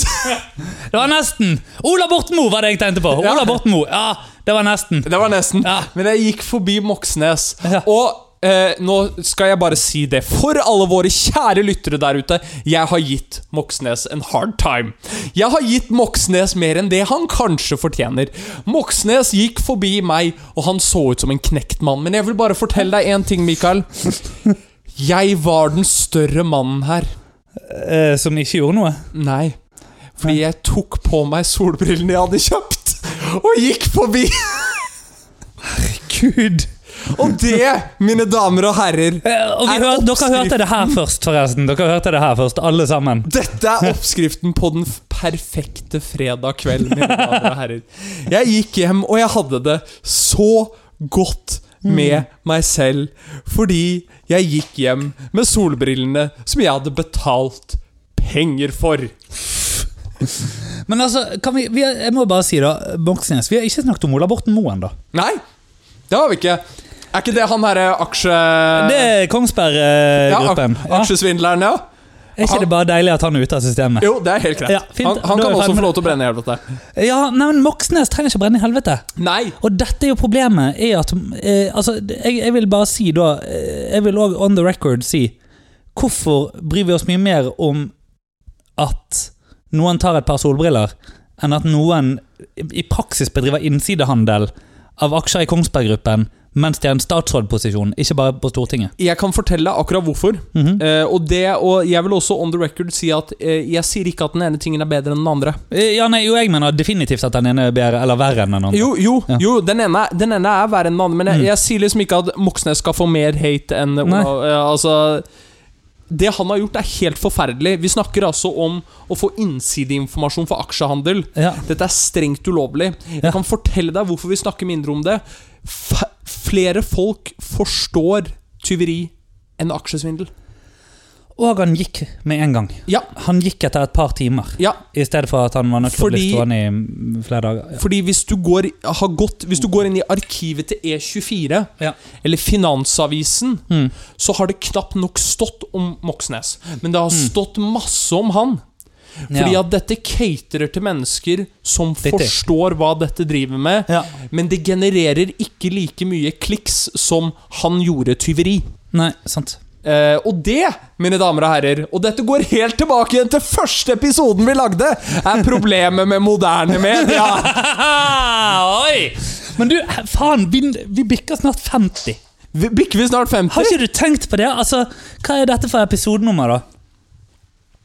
Speaker 2: Det var nesten! Ola Borten Moe var det jeg tenkte på.
Speaker 1: Ja.
Speaker 2: Ola Borten Moe. Ja, det var nesten.
Speaker 1: Det var nesten.
Speaker 2: Mm. Ja.
Speaker 1: Men jeg gikk forbi Moxnes.
Speaker 2: Ja.
Speaker 1: Og eh, nå skal jeg bare si det for alle våre kjære lyttere der ute. Jeg har gitt Moxnes en hard time. Jeg har gitt Moxnes mer enn det han kanskje fortjener. Moxnes gikk forbi meg, og han så ut som en knekt mann. Men jeg vil bare fortelle deg én ting, Mikael. Jeg var den større mannen her.
Speaker 2: Eh, som ikke gjorde noe.
Speaker 1: Nei. Fordi jeg tok på meg solbrillene jeg hadde kjøpt, og gikk forbi.
Speaker 2: Gud!
Speaker 1: Og det, mine damer og herrer,
Speaker 2: Eh, Og vi
Speaker 1: Er
Speaker 2: hør, dere
Speaker 1: oppskriften-
Speaker 2: hørte det her først, forresten. Dere hørte det her først, alle sammen.
Speaker 1: Dette er oppskriften på den f- perfekte fredag kveld, mine damer og herrer. Jeg gikk hjem, og jeg hadde det så godt med meg selv fordi jeg gikk hjem med solbrillene som jeg hadde betalt penger for.
Speaker 2: Men altså, kan vi, vi jeg må bare si da, Moxnes, vi har ikke snakket om Ola Borten Moe ennå.
Speaker 1: Nei, det har vi ikke. Er ikke det han herre aksje...
Speaker 2: Eh, Det er
Speaker 1: ja, ak
Speaker 2: Kongsberg-gruppen. Ja,
Speaker 1: aksjesvindleren, ja?
Speaker 2: er ikke det bare deilig at han er ute av systemet?
Speaker 1: Jo, det er helt greit.
Speaker 2: Ja, fint.
Speaker 1: han han
Speaker 2: Da er
Speaker 1: kan
Speaker 2: vi
Speaker 1: også få
Speaker 2: ferdig med
Speaker 1: lov til å brenne i helvete.
Speaker 2: Ja, nei, men Moxnes trenger ikke brenne i helvete.
Speaker 1: Nei.
Speaker 2: Og dette er jo problemet, er at eh, Altså, jeg, jeg vil bare si da eh, Jeg vil òg on the record si Hvorfor bryr vi oss mye mer om at noen tar et par solbriller, enn at noen i i praksis bedriver innsidehandel av aksjer i Kongsberg-gruppen mens de er i en statsrådposisjon, ikke bare på Stortinget?
Speaker 1: Jeg kan fortelle akkurat hvorfor.
Speaker 2: Mhm.
Speaker 1: Eh, og, det, og jeg vil også on the record si at eh, jeg sier ikke at den ene tingen er bedre enn den andre.
Speaker 2: Eh, Ja, nei, jo, jeg mener definitivt at den ene er bedre eller verre enn den andre.
Speaker 1: Jo, jo,
Speaker 2: Ja. Mhm.
Speaker 1: jo den, ene, den ene er verre enn den andre, men jeg, jeg sier liksom ikke at Moxnes skal få mer hate enn
Speaker 2: Nei.
Speaker 1: Olav. eh, altså, det han har gjort, er helt forferdelig. Vi snakker altså om å få innsideinformasjon for aksjehandel.
Speaker 2: Ja.
Speaker 1: Dette er strengt ulovlig. Jeg
Speaker 2: Ja.
Speaker 1: kan fortelle deg hvorfor vi snakker mindre om det. F flere folk forstår tyveri enn aksjesvindel.
Speaker 2: Og han gikk med en gang.
Speaker 1: Ja,
Speaker 2: Han gikk etter et par timer.
Speaker 1: ja.
Speaker 2: I stedet for at han var nødt til å bli
Speaker 1: Fordi-
Speaker 2: stående i mm, flere dager.
Speaker 1: Fordi hvis du, går, har gått, hvis du går inn i arkivet til E24,
Speaker 2: Ja.
Speaker 1: eller Finansavisen,
Speaker 2: Mm.
Speaker 1: så har det knapt nok stått om Moxnes. Men det har
Speaker 2: Mm.
Speaker 1: stått masse om han. Fordi
Speaker 2: ja.
Speaker 1: at dette caterer til mennesker som
Speaker 2: Riktig.
Speaker 1: forstår hva dette driver med,
Speaker 2: Ja.
Speaker 1: men det genererer ikke like mye kliks som han gjorde tyveri.
Speaker 2: Nei, sant.
Speaker 1: Eh, og det, mine damer og herrer, og dette går helt tilbake igjen til første episoden vi lagde, er problemet med moderne media. Ah,
Speaker 2: Oi! Men du, faen, vi, vi bikker snart 50.
Speaker 1: Vi- Bikker vi snart 50?
Speaker 2: Har ikke du tenkt på det? Altså, Hva er dette for episodenummer, da?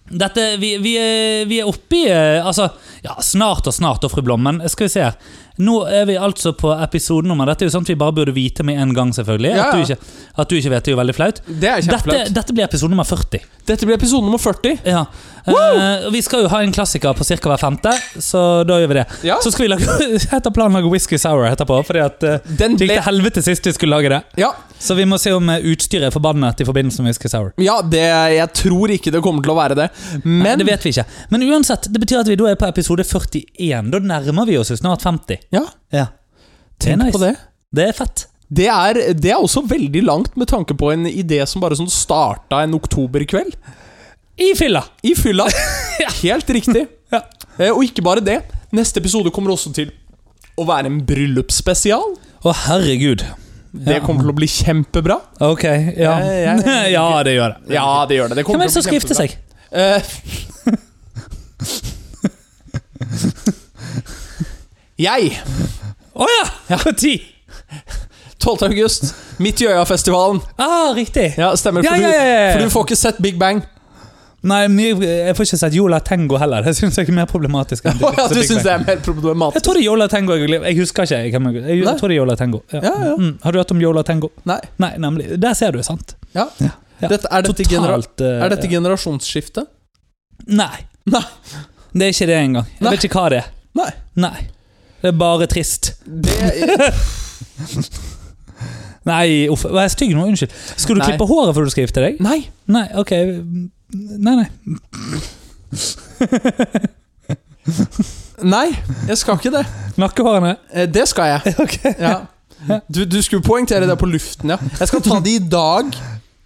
Speaker 2: Dette, vi, vi, er- vi er oppe i eh, altså, ja, Snart og snart, og fru Blom, men skal vi se her. Nå er vi altså på episodenummer. Dette er jo sånt vi bare burde vite med en gang, selvfølgelig.
Speaker 1: Ja, ja.
Speaker 2: At, du ikke, at du ikke vet, det er jo veldig flaut.
Speaker 1: Det er
Speaker 2: Dette,
Speaker 1: kjempeflaut.
Speaker 2: dette blir episode nummer 40.
Speaker 1: Dette blir episode nummer 40.
Speaker 2: Ja. Eh, vi skal jo ha en klassiker på ca. hver femte, så da gjør vi det.
Speaker 1: Ja.
Speaker 2: Så skal vi lage etter planen lage Whisky Sour etterpå, fordi at eh,
Speaker 1: Den
Speaker 2: det gikk
Speaker 1: ble
Speaker 2: til helvete sist vi skulle lage det.
Speaker 1: Ja,
Speaker 2: Så vi må se om eh, utstyret er forbannet i forbindelse med Whisky Sour.
Speaker 1: ja det, jeg tror ikke det kommer til å være det. Men
Speaker 2: Nei, det vet vi ikke. Men uansett, det betyr at vi da er på episode 41. Da nærmer vi oss jo snart 50.
Speaker 1: Ja,
Speaker 2: Ja.
Speaker 1: tenk
Speaker 2: det er nice.
Speaker 1: på det.
Speaker 2: Det er fett.
Speaker 1: Det er, det er også veldig langt med tanke på en idé som bare sånn starta en oktoberkveld.
Speaker 2: I fylla!
Speaker 1: I fylla. Helt riktig.
Speaker 2: Ja.
Speaker 1: Eh, Og ikke bare det. Neste episode kommer også til å være en bryllupsspesial.
Speaker 2: Å, herregud.
Speaker 1: Det kommer til å bli kjempebra.
Speaker 2: Ok, ja.
Speaker 1: Ja, ja, ja.
Speaker 2: ja, det gjør det.
Speaker 1: Ja, det gjør det. det
Speaker 2: Hvem
Speaker 1: kommer
Speaker 2: er det som
Speaker 1: til å bli
Speaker 2: skal gifte seg?
Speaker 1: kjempebra. Eh, Jeg
Speaker 2: Å ja! Når?
Speaker 1: 12. august, midt i Øyafestivalen.
Speaker 2: Ah, riktig.
Speaker 1: Ja, stemmer. For,
Speaker 2: Ja, ja, ja, ja,
Speaker 1: Du,
Speaker 2: ja.
Speaker 1: for du får ikke sett Big Bang.
Speaker 2: Nei, mye, jeg får ikke sett Yola Tengo heller. Det syns jeg er mer problematisk. enn
Speaker 1: Å ja, du
Speaker 2: Big
Speaker 1: syns
Speaker 2: Bang.
Speaker 1: det er mer problematisk?
Speaker 2: Jeg tror det er Yola Tengo. Jeg, jeg husker ikke. Jeg, kan- jeg, jeg,
Speaker 1: Nei.
Speaker 2: tror det er Yola Tengo. Ja.
Speaker 1: Ja, ja.
Speaker 2: Mm. Har du hørt om Yola Tengo?
Speaker 1: Nei.
Speaker 2: Nei, nemlig. Der ser du, sant?
Speaker 1: Ja.
Speaker 2: Ja.
Speaker 1: Dette, er, dette genera
Speaker 2: Totalt eh,
Speaker 1: er dette generasjonsskifte?
Speaker 2: Nei.
Speaker 1: Nei.
Speaker 2: Det er ikke det engang. Jeg
Speaker 1: Nei.
Speaker 2: vet ikke hva det er.
Speaker 1: Nei.
Speaker 2: Nei. Det er bare trist.
Speaker 1: Det,
Speaker 2: Nei, uff. Var jeg stygg nå? Unnskyld. Skulle du
Speaker 1: Nei.
Speaker 2: klippe håret før du skal gifte deg?
Speaker 1: nei.
Speaker 2: Nei, ok. Nei, nei.
Speaker 1: Nei, jeg skal ikke det.
Speaker 2: Nakkehårene?
Speaker 1: Eh, Det skal jeg.
Speaker 2: Ok.
Speaker 1: Ja. Du, du skulle poengtere det på luften, ja. Jeg skal ta det i dag.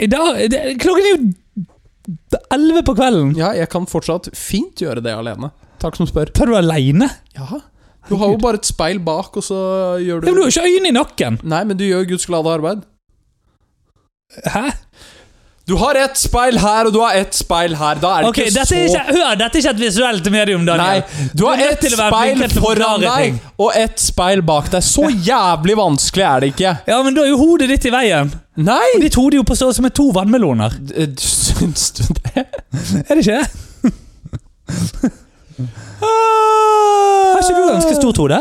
Speaker 2: I dag, det, klokken er jo elleve på kvelden.
Speaker 1: Ja, jeg kan fortsatt fint gjøre det alene. Takk som spør.
Speaker 2: Tar du aleine?
Speaker 1: Ja. Du har jo bare et speil bak, og så gjør
Speaker 2: Du har
Speaker 1: du
Speaker 2: jo ikke øyne i nakken!
Speaker 1: Nei, men du gjør Guds glade arbeid.
Speaker 2: Hæ?
Speaker 1: Du har ett speil her, og du har ett speil her. Da er det
Speaker 2: Ok,
Speaker 1: ikke
Speaker 2: dette
Speaker 1: så
Speaker 2: er ikke, hør, dette er ikke et visuelt medium,
Speaker 1: Nei,
Speaker 2: Daniel.
Speaker 1: du har
Speaker 2: Du er nødt
Speaker 1: ett
Speaker 2: til å være
Speaker 1: speil
Speaker 2: flink til å
Speaker 1: foran
Speaker 2: forklare
Speaker 1: deg
Speaker 2: ting.
Speaker 1: og ett speil bak deg. Så jævlig vanskelig er det ikke.
Speaker 2: Ja, men da er jo hodet ditt i veien.
Speaker 1: Nei!
Speaker 2: Ditt hode er jo på størrelse med to vannmeloner.
Speaker 1: D- eh, d- Syns du det?
Speaker 2: Er det ikke det? Har ikke du
Speaker 1: Ah.
Speaker 2: ganske stort hode?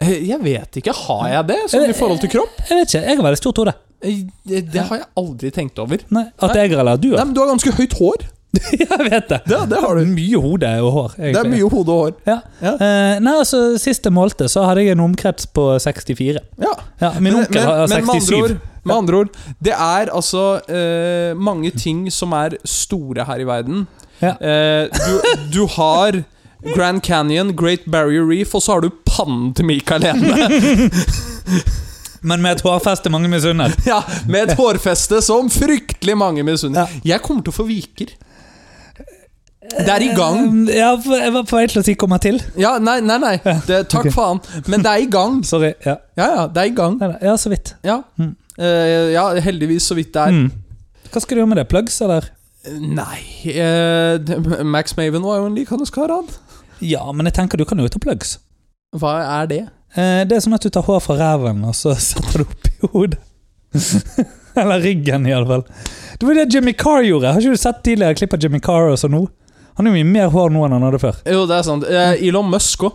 Speaker 1: Eh, Jeg vet ikke. Har jeg det sånn i forhold til kropp?
Speaker 2: Jeg vet ikke, jeg har veldig stort hode.
Speaker 1: eh, Det har jeg aldri tenkt over.
Speaker 2: Nei, At jeg eller at du
Speaker 1: Nei,
Speaker 2: har.
Speaker 1: men Du har ganske høyt hår.
Speaker 2: Jeg vet det.
Speaker 1: Ja, det har du.
Speaker 2: Mye hode og hår. egentlig.
Speaker 1: Det er mye hode og hår.
Speaker 2: Ja.
Speaker 1: Ja.
Speaker 2: Eh, nei, altså, Sist jeg målte, så hadde jeg en omkrets på 64.
Speaker 1: Ja.
Speaker 2: Ja, min onkel har
Speaker 1: med andre
Speaker 2: 67.
Speaker 1: ord, med andre ord Det er altså eh, mange ting som er store her i verden.
Speaker 2: Ja.
Speaker 1: Eh, du, du har Grand Canyon, Great Barrier Reef, og så har du pannen til Mikael Ene.
Speaker 2: Men med et hårfeste mange misunner.
Speaker 1: Ja, med et hårfeste som fryktelig mange misunner. Jeg kommer til å få viker. Det er i gang.
Speaker 2: Um, Ja, for- jeg var på vei til å si 'kommer til'.
Speaker 1: Ja, nei, nei, nei. Det, takk
Speaker 2: Eh. ok.
Speaker 1: faen. Men det er i gang.
Speaker 2: Sorry. Ja,
Speaker 1: Ja, ja, det er i gang.
Speaker 2: Nei, nei, ja så vidt.
Speaker 1: Ja,
Speaker 2: Mm.
Speaker 1: Eh, ja heldigvis så vidt det er.
Speaker 2: Mm. Hva skal du gjøre med det? Plugs, eller?
Speaker 1: Nei eh, det- Max Maven var jo en likende kar, han.
Speaker 2: Ja, men jeg tenker du kan jo ta plugs.
Speaker 1: Hva er det?
Speaker 2: Eh, det er sånn at du tar hår fra ræven, og så setter du opp i hodet. eller ryggen, iallfall. Det var det Jimmy Carr gjorde. Har ikke du sett tidligere klipp av Jimmy Carr og så nå? Han har jo mye mer hår nå enn han hadde før.
Speaker 1: Jo, det er sant. Eh, Elon Musk òg.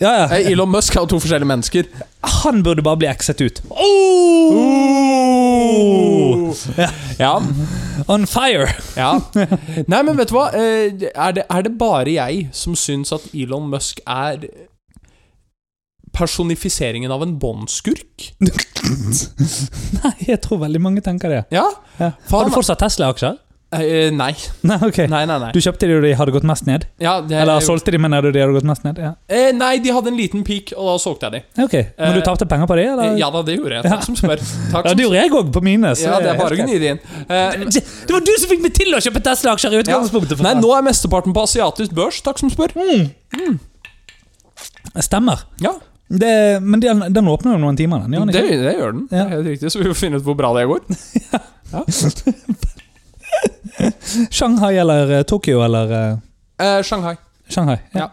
Speaker 2: Ja, ja.
Speaker 1: Eh, Elon Musk er jo to forskjellige mennesker.
Speaker 2: Han burde bare bli exet ut. Oh!
Speaker 1: Oh!
Speaker 2: Ja.
Speaker 1: Ja.
Speaker 2: On fire!
Speaker 1: ja. Nei, men vet du hva? Eh, Er det, er det bare jeg som syns at Elon Musk er personifiseringen av en båndskurk?
Speaker 2: Nei, jeg tror veldig mange tenker det.
Speaker 1: Ja?
Speaker 2: Ja.
Speaker 1: For
Speaker 2: Har
Speaker 1: han-
Speaker 2: du fortsatt Tesla-aksjer?
Speaker 1: Eh, nei.
Speaker 2: Nei, ok.
Speaker 1: Nei, nei, nei.
Speaker 2: Du kjøpte de og de hadde gått mest ned?
Speaker 1: Ja, det,
Speaker 2: Eller solgte de, men hadde de hadde gått mest ned? Ja.
Speaker 1: eh, nei, de hadde en liten peak, og da solgte jeg de.
Speaker 2: Ok, Men du tapte penger på de, eller?
Speaker 1: Eh, Ja da, det gjorde jeg. Takk som spør. Takk
Speaker 2: Ja,
Speaker 1: som
Speaker 2: det gjorde jeg òg, på mine. så
Speaker 1: Ja, det er bare å
Speaker 2: helt greit.
Speaker 1: gni det inn. Eh,
Speaker 2: det, det var du som fikk meg til å kjøpe Tesla-aksjer i utgangspunktet! for
Speaker 1: Nei,
Speaker 2: faen.
Speaker 1: nå er mesteparten på asiatisk børs, takk som spør.
Speaker 2: Stemmer.
Speaker 1: Ja,
Speaker 2: Det, men den, den åpner jo om noen timer, den. gjør den
Speaker 1: det,
Speaker 2: ikke?
Speaker 1: det gjør den. Det
Speaker 2: Ja.
Speaker 1: er helt riktig, Så vi får finne ut hvor bra det går.
Speaker 2: Shanghai eller eh, Tokyo eller eh,
Speaker 1: Eh, Shanghai.
Speaker 2: Shanghai?
Speaker 1: Ja.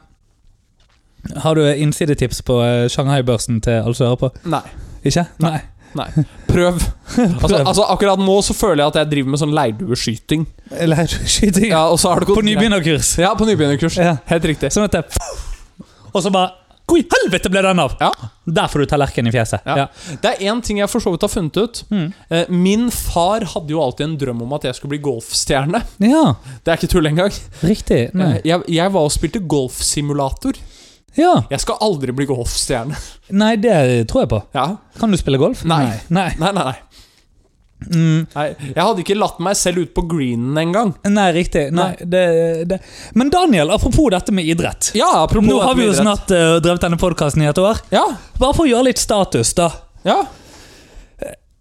Speaker 2: Har du eh, innsidetips på eh, Shanghai-børsen til alle som hører på?
Speaker 1: Nei.
Speaker 2: Ikke? Nei.
Speaker 1: Nei. Prøv. Altså, altså, akkurat nå så føler jeg at jeg driver med sånn leirdueskyting.
Speaker 2: Eller skyting?
Speaker 1: Ja, og så har det gått
Speaker 2: På nybegynnerkurs.
Speaker 1: Ja, på nybegynnerkurs.
Speaker 2: Ja.
Speaker 1: Helt riktig.
Speaker 2: Sånn at det Og så bare Hvor i helvete ble den av?
Speaker 1: Ja.
Speaker 2: Der får du tallerken i fjeset.
Speaker 1: Ja. Det er én ting jeg for så vidt har funnet ut.
Speaker 2: Mm.
Speaker 1: Eh, Min far hadde jo alltid en drøm om at jeg skulle bli golfstjerne.
Speaker 2: Ja,
Speaker 1: Det er ikke tull engang.
Speaker 2: riktig.
Speaker 1: Eh,
Speaker 2: Nei.
Speaker 1: Jeg, jeg var og spilte golfsimulator.
Speaker 2: Ja.
Speaker 1: Jeg skal aldri bli golfstjerne.
Speaker 2: Nei, det tror jeg på.
Speaker 1: Ja.
Speaker 2: Kan du spille golf?
Speaker 1: Nei.
Speaker 2: Nei.
Speaker 1: Nei, nei, nei.
Speaker 2: Nei, mm,
Speaker 1: Nei, jeg hadde ikke latt meg selv ut på greenen engang.
Speaker 2: nei riktig. Nei,
Speaker 1: Nei.
Speaker 2: det, det. Men Daniel, apropos dette med idrett.
Speaker 1: Ja, apropos
Speaker 2: Nå har vi jo
Speaker 1: idrett.
Speaker 2: snart eh, drevet denne podkasten i et år.
Speaker 1: Ja,
Speaker 2: Bare for å gjøre litt status, da.
Speaker 1: ja.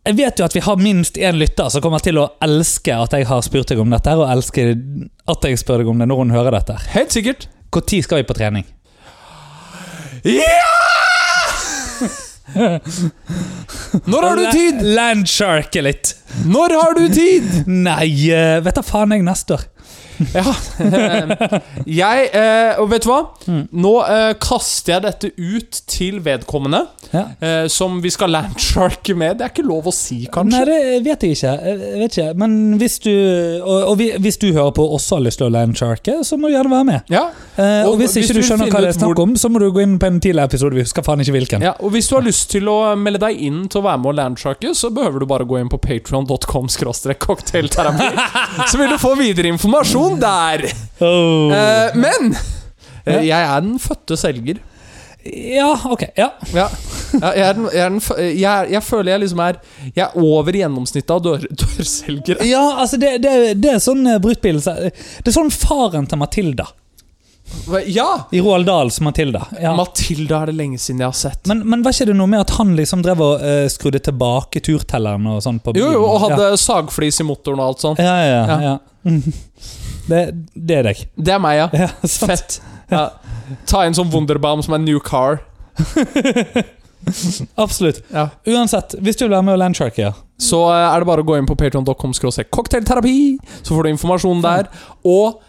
Speaker 2: Jeg vet jo at vi har minst én lytter som kommer til å elske at jeg har spurt deg om dette, her, og elske at jeg spør deg om det når hun hører dette. her.
Speaker 1: Helt sikkert.
Speaker 2: Hvor tid skal vi på trening?
Speaker 1: Ja! Når har du tid?
Speaker 2: Landsharke litt.
Speaker 1: Når har du tid?
Speaker 2: Nei, eh, vet da faen jeg neste år.
Speaker 1: Ja. eh, Jeg eh, Og vet du hva? Nå eh, kaster jeg dette ut til vedkommende,
Speaker 2: Ja.
Speaker 1: eh, som vi skal landsharke med. Det er ikke lov å si, kanskje.
Speaker 2: Nei, det vet jeg ikke. Jeg vet ikke. Men hvis du, og, og vi- hvis du hører på og også har lyst til å landsharke, så må du gjerne være med.
Speaker 1: Ja.
Speaker 2: Eh, og,
Speaker 1: Og
Speaker 2: hvis
Speaker 1: hvis
Speaker 2: ikke
Speaker 1: du
Speaker 2: du
Speaker 1: vil
Speaker 2: skjønner
Speaker 1: finne
Speaker 2: hva det er
Speaker 1: ut
Speaker 2: snakk om, så må du gå inn på en tidligere episode. Vi husker faen ikke hvilken.
Speaker 1: Ja, og Hvis du har lyst til å melde deg inn til å være med og landsharke, så behøver du bare gå inn på patreon.com cocktailterapi. Så vil du få videre informasjon der.
Speaker 2: Oh.
Speaker 1: Eh, men eh, jeg er den fødte selger.
Speaker 2: ja, ok. Ja.
Speaker 1: Ja. Ja, Jeg, er den, jeg, er den, fø- jeg, er, jeg føler jeg liksom er Jeg er over gjennomsnittet av dør, dørselgere.
Speaker 2: ja, altså, det, det, det er sånn eh, bruttbil Det er sånn faren til Matilda.
Speaker 1: Ja!
Speaker 2: I Roald Dahls Matilda. Ja.
Speaker 1: Matilda er det lenge siden jeg har sett.
Speaker 2: Men, men var ikke det noe med at han liksom drev og eh, skrudde tilbake turtelleren og sånn på
Speaker 1: Jo,
Speaker 2: bilen?
Speaker 1: jo, og hadde sagflis i motoren og alt sånt.
Speaker 2: Ja, ja, ja.
Speaker 1: Ja.
Speaker 2: ja. Mhm. Det, det er deg.
Speaker 1: Det er meg, ja.
Speaker 2: Ja, sant.
Speaker 1: Fett. Ja. Ta en sånn Wunderbaum som er new car.
Speaker 2: Absolutt.
Speaker 1: Ja.
Speaker 2: Uansett, hvis du vil være med og landsharke, ja.
Speaker 1: Så eh, er det bare å gå inn på patreon.com cocktailterapi, så får du informasjon der. Og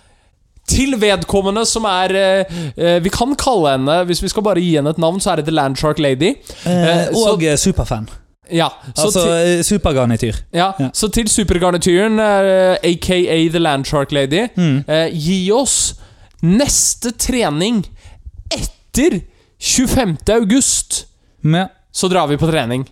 Speaker 1: til vedkommende som er eh, eh, Vi kan kalle henne, hvis vi skal bare gi henne et navn, så er det The Landshark Lady. Eh,
Speaker 2: Eh,
Speaker 1: så-
Speaker 2: og eh, superfan.
Speaker 1: Ja, så,
Speaker 2: altså
Speaker 1: til,
Speaker 2: eh, supergarnityr.
Speaker 1: ja,
Speaker 2: ja.
Speaker 1: så til supergarnityren, eh, aka The Landshark Lady,
Speaker 2: Mm.
Speaker 1: eh, gi oss neste trening etter 25. august,
Speaker 2: Med
Speaker 1: så drar vi på trening.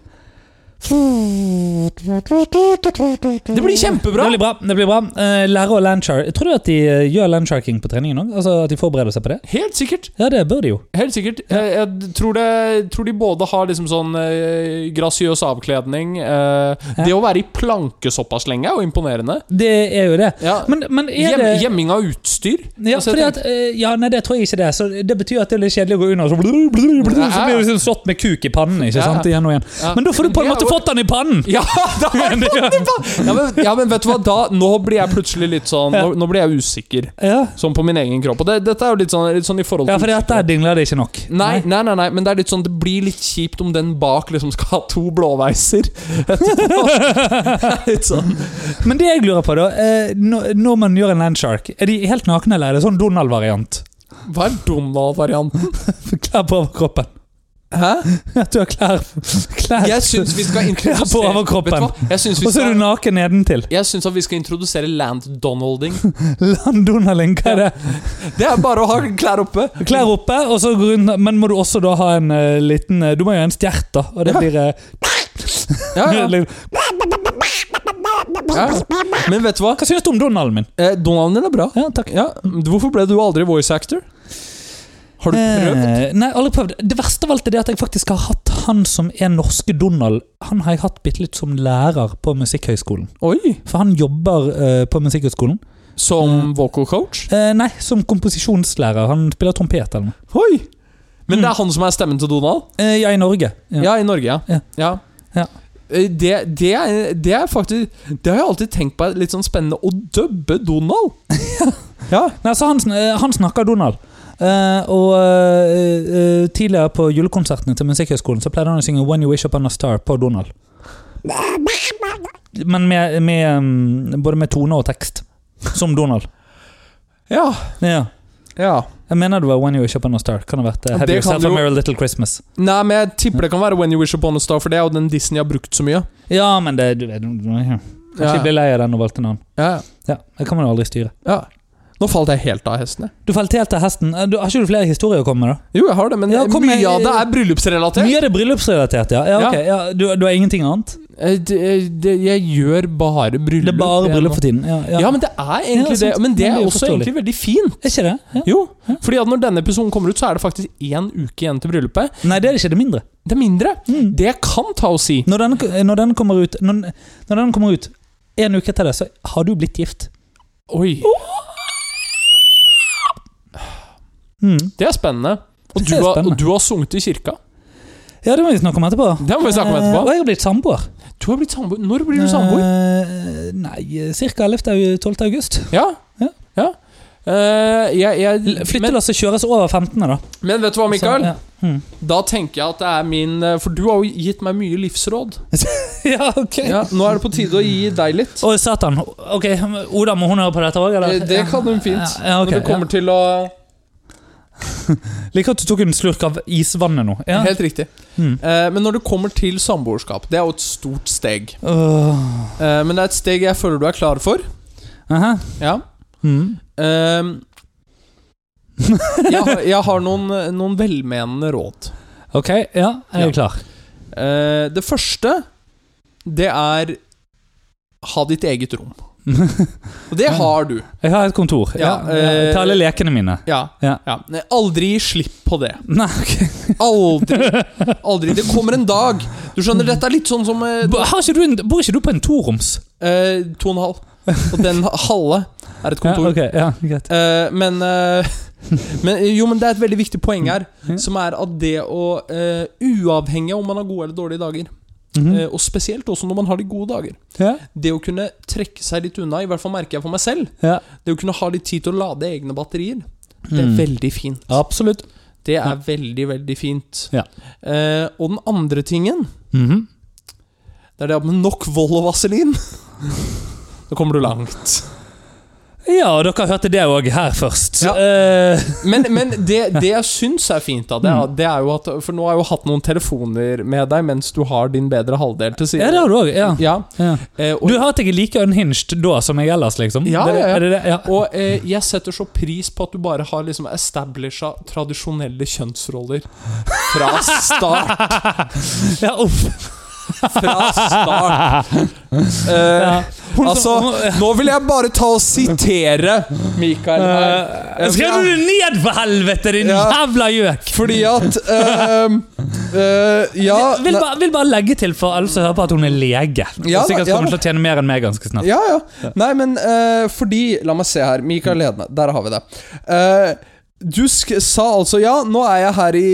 Speaker 1: Det blir kjempebra!
Speaker 2: Det blir bra. det blir bra Eh, Lære å landshark Tror du at de eh, gjør landsharking på treningen òg? Altså at de forbereder seg på det?
Speaker 1: Helt sikkert.
Speaker 2: Ja, det bør de jo.
Speaker 1: Helt sikkert. Eh, Jeg, jeg tror, det, tror de både har liksom sånn eh, grasiøs avkledning eh, Det å være i planke såpass lenge er jo imponerende.
Speaker 2: Det er jo det.
Speaker 1: Ja.
Speaker 2: Men, men er
Speaker 1: Gjem,
Speaker 2: det
Speaker 1: gjemming av utstyr.
Speaker 2: ja,
Speaker 1: Altså, jeg
Speaker 2: fordi at, eh, ja, nei, det tror jeg ikke det. Så Det betyr at det er litt kjedelig å gå under, og så, blub, blub, blub, så blir du liksom slått med kuk i pannen. ikke
Speaker 1: Ja.
Speaker 2: sant? Igjen og igjen.
Speaker 1: Ja.
Speaker 2: Men da får du på en
Speaker 1: Det er
Speaker 2: måte
Speaker 1: jo-
Speaker 2: fått den i pannen!
Speaker 1: Ja, da har jeg fått det på! Ja, men, ja, men vet du hva, da, nå blir jeg plutselig litt sånn Nå, nå blir jeg usikker.
Speaker 2: Ja,
Speaker 1: Sånn på min egen kropp. Og det, dette er jo litt sånn, litt sånn i forhold
Speaker 2: ja
Speaker 1: til
Speaker 2: for der dingler det ikke nok.
Speaker 1: Nei, nei, nei, nei, men det er litt sånn Det blir litt kjipt om den bak liksom skal ha to blåveiser. litt sånn
Speaker 2: Men det jeg lurer på, da eh, når- Når man gjør en landshark, er de helt nakne, eller er det sånn Donald-variant?
Speaker 1: Hva er Donald-varianten?
Speaker 2: Klær på overkroppen.
Speaker 1: Hæ?
Speaker 2: At du har klær, klær.
Speaker 1: Jeg syns vi skal
Speaker 2: Ja, på
Speaker 1: introdusere
Speaker 2: overkroppen.
Speaker 1: Vet du hva? Jeg syns vi
Speaker 2: Og så er du
Speaker 1: skal
Speaker 2: naken nedentil.
Speaker 1: jeg syns at vi skal introdusere land-donalding.
Speaker 2: Landonalding, hva er det?
Speaker 1: Det er bare å ha klær oppe.
Speaker 2: Klær oppe, og så gå rundt, men må du også da ha en eh, liten eh, Du må jo ha en stjert, da. Og det
Speaker 1: Ja.
Speaker 2: blir eh,
Speaker 1: Ja, ja.
Speaker 2: litt-
Speaker 1: Ja. Men vet du hva?
Speaker 2: Hva syns du om Donalden min?
Speaker 1: Eh, Donalden din er bra.
Speaker 2: Ja, takk.
Speaker 1: Ja. Hvorfor ble du aldri voice actor? Har du prøvd?
Speaker 2: Eh, nei, aldri prøvd. Det verste av alt er det at jeg faktisk har hatt han som er norske Donald. Han har jeg hatt bitte litt som lærer på Musikkhøgskolen.
Speaker 1: Oi!
Speaker 2: For han jobber eh, på Musikkhøgskolen.
Speaker 1: Som vocal coach?
Speaker 2: Eh, nei, som komposisjonslærer. Han spiller trompet eller noe.
Speaker 1: Oi! Men det er han som er stemmen til Donald?
Speaker 2: Eh, ja, i Norge. Ja.
Speaker 1: Ja, i Norge, ja.
Speaker 2: Ja.
Speaker 1: ja.
Speaker 2: Ja.
Speaker 1: Eh, Det, det, er- det er faktisk Det har jeg alltid tenkt på er litt sånn spennende. Å dubbe Donald! Ja.
Speaker 2: Nei, så han, sn- eh, han snakker Donald. Eh, og eh, eh, tidligere på julekonsertene til Musikkhøgskolen så pleide han å synge 'When You Wish Upon a Star' på Donald. Men med, med, mm, både med tone og tekst. Som Donald.
Speaker 1: Ja.
Speaker 2: Ja.
Speaker 1: ja.
Speaker 2: Jeg mener det var 'When You Wish Upon a Star'. Kan det ha vært eh,
Speaker 1: Ja,
Speaker 2: 'Have
Speaker 1: det kan
Speaker 2: Yourself
Speaker 1: det
Speaker 2: a
Speaker 1: jo.
Speaker 2: Merry Little Christmas'?
Speaker 1: Nei, men jeg tipper det kan være When You Wish Upon a Star, for det er jo den Disney har brukt så mye.
Speaker 2: Ja, men det du, vet- Kanskje
Speaker 1: Ja.
Speaker 2: jeg blir lei av den og valgte en annen.
Speaker 1: Ja,
Speaker 2: Ja, Det kan man jo aldri styre.
Speaker 1: ja. Nå falt jeg helt av hesten, jeg.
Speaker 2: Du falt helt til hesten. Eh, Du, har ikke du flere historier å komme med? da?
Speaker 1: Jo, jeg har det, men
Speaker 2: Ja, kom
Speaker 1: mye
Speaker 2: med-
Speaker 1: av det er bryllupsrelatert.
Speaker 2: Mye av det er bryllupsrelatert, ja. ja, ok. ja du, du har ingenting annet?
Speaker 1: Eh, Det, det, jeg gjør bare bryllup.
Speaker 2: Det er bare
Speaker 1: jeg
Speaker 2: bryllup
Speaker 1: nå.
Speaker 2: for tiden? Ja,
Speaker 1: Ja, men det er egentlig
Speaker 2: Ja, sant.
Speaker 1: det. Men det
Speaker 2: Men
Speaker 1: er
Speaker 2: det er
Speaker 1: også
Speaker 2: forståelig.
Speaker 1: egentlig veldig fint.
Speaker 2: Er ikke det? Ja.
Speaker 1: Jo, fordi at når denne episoden kommer ut, så er det faktisk én uke igjen til bryllupet.
Speaker 2: Nei, det er ikke det mindre.
Speaker 1: Det er mindre.
Speaker 2: Mm.
Speaker 1: Det kan ta å si.
Speaker 2: Når den, når den kommer ut når, når den kommer ut en uke etter det, så har du blitt gift.
Speaker 1: Oi,
Speaker 2: Mm.
Speaker 1: det er spennende. Og
Speaker 2: Det
Speaker 1: du
Speaker 2: er
Speaker 1: har,
Speaker 2: spennende.
Speaker 1: og du har sunget i kirka.
Speaker 2: Ja, det må vi snakke om etterpå.
Speaker 1: Det må vi snakke om
Speaker 2: Eh, og
Speaker 1: etterpå.
Speaker 2: jeg har blitt samboer.
Speaker 1: Du har blitt samboer. Når blir du samboer?
Speaker 2: Eh, nei, ca. 11.-12. august.
Speaker 1: Ja.
Speaker 2: Ja.
Speaker 1: ja.
Speaker 2: Eh, jeg, jeg, flyttelasset kjøres over 15. da.
Speaker 1: Men vet du hva, Mikael?
Speaker 2: Så, ja. Mm.
Speaker 1: Da tenker jeg at det er min eh, For du har jo gitt meg mye livsråd.
Speaker 2: ja, ok.
Speaker 1: Ja, nå er det på tide å gi deg litt.
Speaker 2: Å, satan. Ok, Oda, må hun høre på dette òg,
Speaker 1: Eh,
Speaker 2: eller?
Speaker 1: Det kan hun fint.
Speaker 2: Ja, ja, ok,
Speaker 1: Når det kommer til å
Speaker 2: Liker at du tok en slurk av isvannet nå. Ja.
Speaker 1: Helt riktig.
Speaker 2: Mm.
Speaker 1: Eh, Men når det kommer til samboerskap, det er jo et stort steg.
Speaker 2: Åh.
Speaker 1: Eh, Men det er et steg jeg føler du er klar for.
Speaker 2: Øh, Aha.
Speaker 1: Ja.
Speaker 2: Mm.
Speaker 1: Ehm, jeg, har, jeg har noen, noen velmenende råd.
Speaker 2: Ok, ja,
Speaker 1: Ja.
Speaker 2: jeg er klar.
Speaker 1: Eh, det første, det er ha ditt eget rom. Og det har du.
Speaker 2: Jeg har et kontor. Ja,
Speaker 1: Ja, eh,
Speaker 2: Til alle lekene mine.
Speaker 1: Ja.
Speaker 2: Ja.
Speaker 1: ja. Nei, Aldri gi slipp på det.
Speaker 2: Nei, ok.
Speaker 1: Aldri. aldri. Det kommer en dag. Du skjønner, dette er litt sånn som eh,
Speaker 2: Bo- Har ikke du en, bor ikke du på en toroms?
Speaker 1: eh, to og en halv. Og den halve er et
Speaker 2: Ja,
Speaker 1: kontor.
Speaker 2: ok, ja, greit.
Speaker 1: Eh, men, eh, men Jo, men det er et veldig viktig poeng her,
Speaker 2: Mm.
Speaker 1: som er at det å eh, Uavhengig av om man har gode eller dårlige dager,
Speaker 2: Mhm.
Speaker 1: eh, og spesielt også når man har de gode dager,
Speaker 2: ja,
Speaker 1: det å kunne trekke seg litt unna, i hvert fall merker jeg for meg selv,
Speaker 2: ja.
Speaker 1: det å kunne ha litt tid til å lade egne batterier, det er
Speaker 2: Mm.
Speaker 1: veldig fint.
Speaker 2: Absolutt.
Speaker 1: Det er veldig, veldig fint.
Speaker 2: Ja.
Speaker 1: Eh, og den andre tingen,
Speaker 2: Mhm.
Speaker 1: det er det med nok vold og vaselin. Da kommer du langt.
Speaker 2: Ja, og dere hørte det òg her først.
Speaker 1: Ja.
Speaker 2: Eh,
Speaker 1: Men, men det, det jeg syns er fint, da, det er, det er jo at For nå har jeg jo hatt noen telefoner med deg mens du har din bedre halvdel til siden.
Speaker 2: ja, det har du òg. Ja.
Speaker 1: Ja,
Speaker 2: Ja.
Speaker 1: eh,
Speaker 2: Du
Speaker 1: og,
Speaker 2: har at jeg er like unhinged da som jeg ellers, liksom?
Speaker 1: Ja,
Speaker 2: det,
Speaker 1: ja, ja.
Speaker 2: Er det det? ja.
Speaker 1: og eh, jeg setter så pris på at du bare har liksom establisha tradisjonelle kjønnsroller fra start.
Speaker 2: ja uff.
Speaker 1: Fra start. Eh,
Speaker 2: Ja. Hun
Speaker 1: altså,
Speaker 2: som- hun-
Speaker 1: nå vil jeg bare ta og sitere Mikael her.
Speaker 2: Eh, Skrev du det ned, for helvete, din
Speaker 1: Ja.
Speaker 2: jævla gjøk!
Speaker 1: Fordi at eh, eh, Ja.
Speaker 2: Vil
Speaker 1: nei-
Speaker 2: bare, vil bare legge til for alle som hører på at hun er lege.
Speaker 1: Ja
Speaker 2: Og sikkert
Speaker 1: da, ja
Speaker 2: kommer hun til å tjene mer enn meg ganske snart.
Speaker 1: Ja, ja. Nei, men eh, fordi La meg se her. Mikael Hedne. Der har vi det. Eh, du sk sa altså ja, nå er jeg her i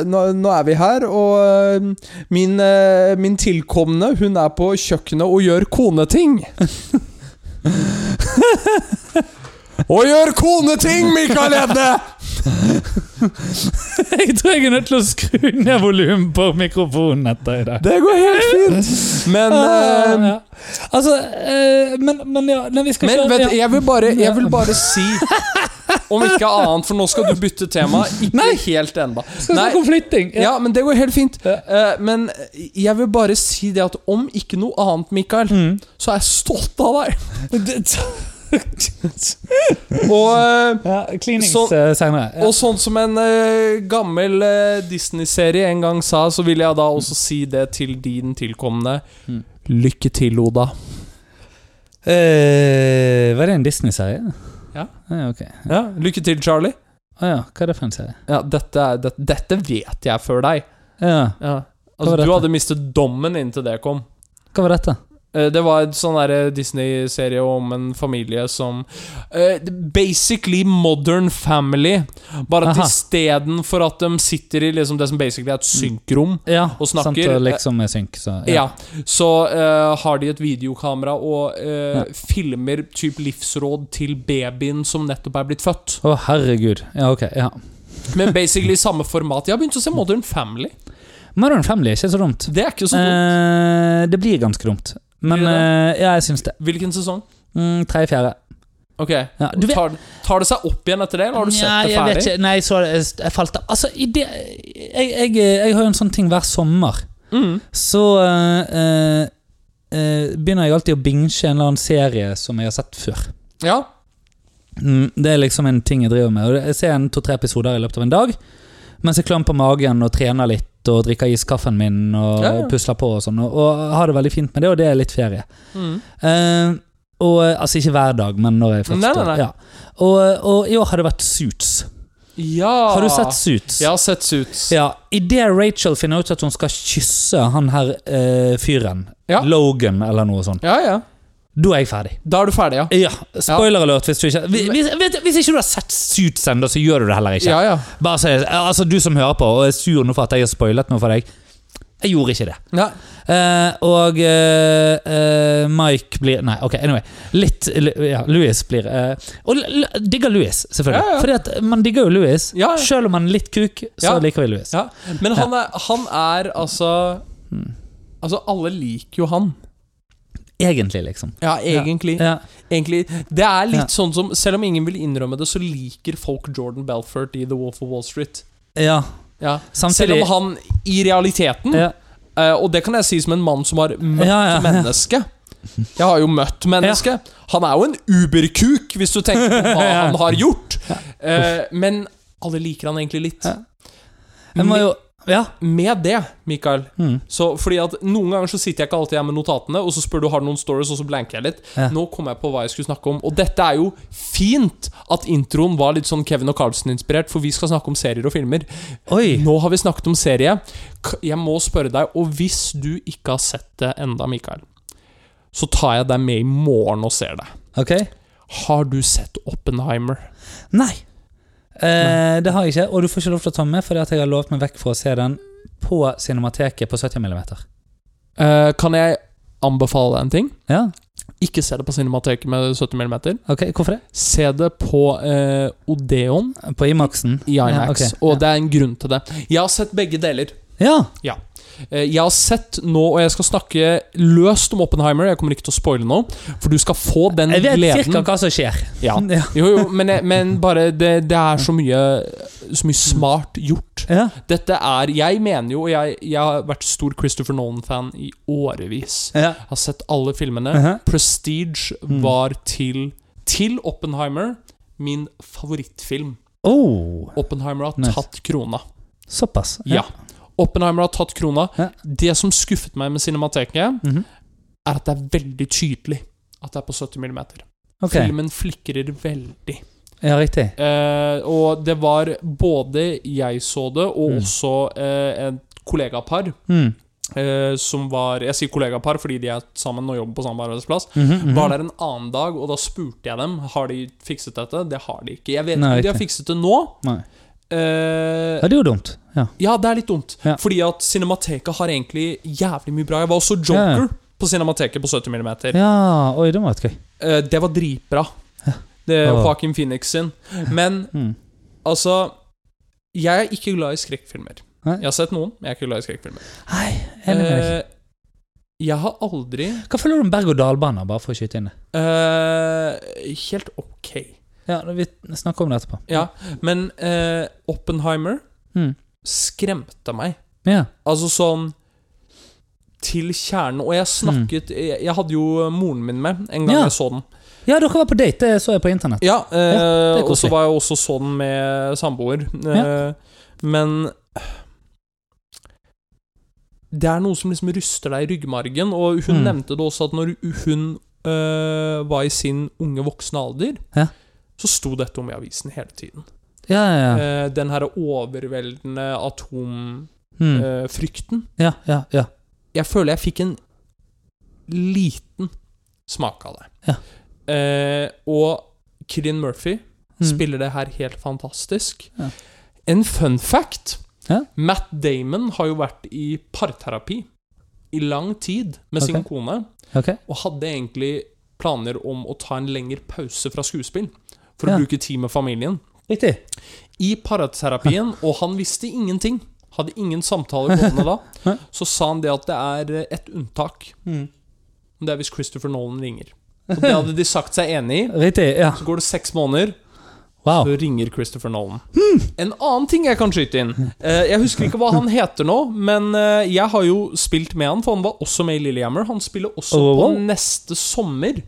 Speaker 1: eh, nå, nå er vi her, og eh, min, eh, min tilkomne, hun er på kjøkkenet og gjør koneting. og gjør koneting, Mikael Hedne!
Speaker 2: Jeg tror jeg er nødt til å skru ned volumet på mikrofonen etter i dag.
Speaker 1: Det går helt fint. Men
Speaker 2: Ah,
Speaker 1: eh,
Speaker 2: ja. Altså, eh, men, men ja nei, vi skal
Speaker 1: Men
Speaker 2: ikke-
Speaker 1: vet,
Speaker 2: ja.
Speaker 1: du, jeg vil bare, jeg vil bare si Om ikke annet, for nå skal du bytte tema. Ikke
Speaker 2: Nei.
Speaker 1: helt ennå.
Speaker 2: Skal
Speaker 1: Nei,
Speaker 2: snakke om flytting.
Speaker 1: ja, men det går helt fint.
Speaker 2: Ja.
Speaker 1: Eh, men jeg vil bare si det at om ikke noe annet, Mikael,
Speaker 2: Mm.
Speaker 1: så er jeg stolt av deg. Og, eh,
Speaker 2: Ja, Cleanings
Speaker 1: Så-
Speaker 2: eh, senere. Ja.
Speaker 1: og sånn som en eh, gammel eh, Disney-serie en gang sa, så vil jeg da også si det til din tilkommende.
Speaker 2: Mm.
Speaker 1: Lykke til, Oda.
Speaker 2: Eh, var det en Disney-serie?
Speaker 1: Ja.
Speaker 2: Ah, ok.
Speaker 1: Lykke til, Charlie.
Speaker 2: Ah, ja. Hva er det for en serie?
Speaker 1: Ja, dette, er- det, dette vet jeg før deg.
Speaker 2: Ja.
Speaker 1: Ja.
Speaker 2: Hva var
Speaker 1: Altså, du
Speaker 2: dette?
Speaker 1: hadde mistet dommen inntil det kom.
Speaker 2: Hva var dette?
Speaker 1: Eh, Det var en sånn der Disney-serie om en familie som eh, Basically modern family. Bare at
Speaker 2: Aha.
Speaker 1: istedenfor at de sitter i liksom det som basically er et
Speaker 2: Mm.
Speaker 1: synkrom,
Speaker 2: Ja,
Speaker 1: Og snakker-
Speaker 2: sant, og liksom er synk, så
Speaker 1: ja. så eh, har de et videokamera og eh,
Speaker 2: Ja.
Speaker 1: filmer typ livsråd til babyen som nettopp er blitt født.
Speaker 2: Å, herregud. Ja, ok. ja.
Speaker 1: Men basically samme format. Jeg har begynt å se Modern Family.
Speaker 2: Modern Family er ikke så dumt.
Speaker 1: Det er ikke så dumt.
Speaker 2: Eh, det blir ganske dumt. Men
Speaker 1: Blir det
Speaker 2: eh, ja, jeg syns det.
Speaker 1: Hvilken sesong?
Speaker 2: Mm, Tredje-fjerde.
Speaker 1: Ok.
Speaker 2: Ja, du vet-
Speaker 1: tar, tar det seg opp igjen etter det, eller har du sett
Speaker 2: Nja,
Speaker 1: det
Speaker 2: jeg vet
Speaker 1: ferdig?
Speaker 2: ikke. Nei, jeg så det, jeg, jeg falt av. Altså, i det, jeg, jeg, jeg har jo en sånn ting hver sommer.
Speaker 1: Mm.
Speaker 2: Så eh, eh, begynner jeg alltid å binge en eller annen serie som jeg har sett før.
Speaker 1: Ja.
Speaker 2: Mm, det er liksom en ting jeg driver med. Og det- Jeg ser en to-tre episoder i løpet av en dag. Mens jeg klør på magen og trener litt og drikker iskaffen min og
Speaker 1: Ja, ja.
Speaker 2: pusler på og sånn. Og, og har det veldig fint med det, og det er litt ferie.
Speaker 1: Mm.
Speaker 2: Eh, og, altså ikke hver dag, men når jeg først
Speaker 1: Nei, nei, nei.
Speaker 2: Ja. Og, eh, og i år har det vært Suits.
Speaker 1: Ah. Ja
Speaker 2: Har du sett Suits?
Speaker 1: Jeg har ssett Suits.
Speaker 2: Ja, Idet Rachel finner ut at hun skal kysse han her eh, fyren,
Speaker 1: Ja.
Speaker 2: Logan eller noe sånt,
Speaker 1: ja, ja.
Speaker 2: da er jeg ferdig.
Speaker 1: Da er du ferdig, ja.
Speaker 2: Ja, Spoiler alert hvis du ikke hvis, hvis, vet- hvis ikke du har sett Suits ennå, så gjør du det heller ikke.
Speaker 1: Ja, ja.
Speaker 2: Bare si, altså Du som hører på og er sur nå for at jeg har spoilet noe for deg, Jeg gjorde ikke det.
Speaker 1: Ja.
Speaker 2: Eh, og eh, eh, Mike blir Nei, ok, anyway. Litt ja, Louis blir eh, Og l- l- digger Louis, selvfølgelig.
Speaker 1: Ja, ja.
Speaker 2: Fordi at man digger jo Louis.
Speaker 1: Ja, ja.
Speaker 2: Selv om han er litt kuk, så
Speaker 1: Ja.
Speaker 2: liker vi Louis.
Speaker 1: Ja, men han er, han er altså
Speaker 2: Mm.
Speaker 1: Altså, alle liker jo han.
Speaker 2: Egentlig, liksom.
Speaker 1: Ja, egentlig.
Speaker 2: Ja.
Speaker 1: egentlig. Det er litt
Speaker 2: Ja.
Speaker 1: sånn som Selv om ingen vil innrømme det, så liker folk Jordan Belfort i The Wolf of Wall Street.
Speaker 2: ja.
Speaker 1: Ja.
Speaker 2: Samtidig
Speaker 1: Selv om han i realiteten,
Speaker 2: ja.
Speaker 1: eh, og det kan jeg si som en mann som har møtt
Speaker 2: Ja, ja, ja.
Speaker 1: menneske Jeg har jo møtt menneske. Han er jo en uberkuk, hvis du tenker på hva
Speaker 2: Ja.
Speaker 1: han har gjort. Eh, men alle liker han egentlig litt.
Speaker 2: Ja. Jeg må jo Ja.
Speaker 1: Med det, Mikael
Speaker 2: Mm.
Speaker 1: så, Fordi at Noen ganger så sitter jeg ikke alltid her med notatene, og så spør du har du noen stories, og så blanker jeg litt.
Speaker 2: Ja.
Speaker 1: Nå kom jeg på hva jeg skulle snakke om. Og dette er jo fint at introen var litt sånn Kevin og Carlsen-inspirert, for vi skal snakke om serier og filmer.
Speaker 2: Oi.
Speaker 1: Nå har vi snakket om serie. K- Jeg må spørre deg, og hvis du ikke har sett det enda, Mikael, så tar jeg deg med i morgen og ser det.
Speaker 2: Ok.
Speaker 1: Har du sett Oppenheimer?
Speaker 2: Nei. Eh, det har jeg ikke, og du får ikke lov til å ta med fordi at jeg har lovt meg vekk fra å se den på Cinemateket på 70 mm.
Speaker 1: Eh, kan jeg anbefale deg en ting?
Speaker 2: Ja,
Speaker 1: Ikke se det på Cinemateket med 70 mm.
Speaker 2: ok, Hvorfor det?
Speaker 1: Se det på eh, Odeon
Speaker 2: På Imaxen?
Speaker 1: i Imax,
Speaker 2: Ja, ok.
Speaker 1: og
Speaker 2: Ja.
Speaker 1: det er en grunn til det. Jeg har sett begge deler.
Speaker 2: Ja.
Speaker 1: Eh, Jeg har sett nå, og jeg skal snakke løst om Oppenheimer. Jeg kommer ikke til å spoile noe, for du skal få den
Speaker 2: Jeg vet
Speaker 1: gleden.
Speaker 2: cirka hva som skjer.
Speaker 1: Ja.
Speaker 2: Ja.
Speaker 1: Jo, jo, men, jeg- men bare det, det er så mye, så mye smart gjort.
Speaker 2: Ja.
Speaker 1: Dette er Jeg mener jo, og jeg, jeg har vært stor Christopher Nolan-fan i årevis.
Speaker 2: Ja.
Speaker 1: Jeg har sett alle filmene.
Speaker 2: Mhm.
Speaker 1: Prestige
Speaker 2: Mm.
Speaker 1: var til, til Oppenheimer min favorittfilm.
Speaker 2: Oh,
Speaker 1: Oppenheimer har
Speaker 2: Nice.
Speaker 1: tatt krona.
Speaker 2: såpass.
Speaker 1: Ja. Oppenheimer har tatt krona.
Speaker 2: Ja.
Speaker 1: Det som skuffet meg med Cinemateket,
Speaker 2: Mhm.
Speaker 1: er at det er veldig tydelig at det er på 70 millimeter.
Speaker 2: Ok,
Speaker 1: Filmen flikrer veldig.
Speaker 2: ja, riktig.
Speaker 1: Eh, og det var både jeg så det, og
Speaker 2: Mm.
Speaker 1: også eh, et kollegapar
Speaker 2: Mm.
Speaker 1: eh, som var Jeg sier kollegapar fordi de er sammen og jobber på samme arbeidsplass.
Speaker 2: Mhm, mhm.
Speaker 1: Var der en annen dag, og da spurte jeg dem Har de fikset dette. Det har de ikke. Jeg vet ikke
Speaker 2: Nei,
Speaker 1: om de har
Speaker 2: riktig.
Speaker 1: fikset det nå.
Speaker 2: Nei.
Speaker 1: Eh,
Speaker 2: Ja, det er jo dumt. Ja.
Speaker 1: ja, det er litt dumt.
Speaker 2: Ja.
Speaker 1: Fordi at Cinemateket har egentlig jævlig mye bra. Jeg var også
Speaker 2: Ja,
Speaker 1: Joker
Speaker 2: ja.
Speaker 1: på Cinemateket på 70 mm.
Speaker 2: ja, oi, det var et gøy.
Speaker 1: Eh, det var dritbra. Det er
Speaker 2: Åh.
Speaker 1: Joaquin Phoenix sin. Men
Speaker 2: Mm.
Speaker 1: altså Jeg er ikke glad i skrekkfilmer.
Speaker 2: Nei.
Speaker 1: Jeg har sett noen, men jeg er ikke glad i skrekkfilmer.
Speaker 2: Nei, enig med deg.
Speaker 1: Eh, jeg har aldri
Speaker 2: Hva føler du om berg-og-dal-baner, bare for å skyte inn det?
Speaker 1: eh, Helt ok.
Speaker 2: Ja, Vi snakker om det etterpå.
Speaker 1: Ja, men eh, Oppenheimer
Speaker 2: Mm.
Speaker 1: skremte meg.
Speaker 2: Ja.
Speaker 1: Altså sånn Til kjernen. Og jeg snakket jeg, jeg hadde jo moren min med en gang
Speaker 2: Mm. Ja.
Speaker 1: jeg så den.
Speaker 2: ja, dere var på date, det så jeg på internett.
Speaker 1: Ja, eh,
Speaker 2: det er
Speaker 1: Og så
Speaker 2: koselig.
Speaker 1: var jeg også så den med samboer. Eh, Men det er noe som liksom ryster deg i ryggmargen, og hun
Speaker 2: Mm.
Speaker 1: nevnte det også at når hun eh, var i sin unge voksne alder,
Speaker 2: Ja.
Speaker 1: så sto dette om i avisen hele tiden.
Speaker 2: Ja, ja, ja.
Speaker 1: Eh, den her overveldende atomfrykten.
Speaker 2: Mm. Ja, ja, ja.
Speaker 1: jeg føler jeg fikk en liten smak av det.
Speaker 2: Ja.
Speaker 1: Eh, og Killian Murphy
Speaker 2: Mm.
Speaker 1: spiller det her helt fantastisk.
Speaker 2: Ja.
Speaker 1: En fun fact
Speaker 2: Ja.
Speaker 1: Matt Damon har jo vært i parterapi i lang tid med sin
Speaker 2: Ok.
Speaker 1: kone,
Speaker 2: Ok.
Speaker 1: og hadde egentlig planer om å ta en lengre pause fra skuespill for
Speaker 2: Ja.
Speaker 1: å bruke tid med familien.
Speaker 2: Riktig.
Speaker 1: I paraterapien, og han visste ingenting, hadde ingen samtaler gående da, så sa han det at det er eh, et unntak.
Speaker 2: Mm.
Speaker 1: Det er hvis Christopher Nolan ringer. Og det hadde de sagt seg enig i.
Speaker 2: Riktig, ja.
Speaker 1: Så går det seks måneder,
Speaker 2: Wow.
Speaker 1: så ringer Christopher Nolan. En annen ting jeg kan skyte inn Eh, Jeg husker ikke hva han heter nå, men eh, jeg har jo spilt med han, for han var også med i Lillehammer. Han spiller også
Speaker 2: Oh,
Speaker 1: på
Speaker 2: wow.
Speaker 1: neste sommer.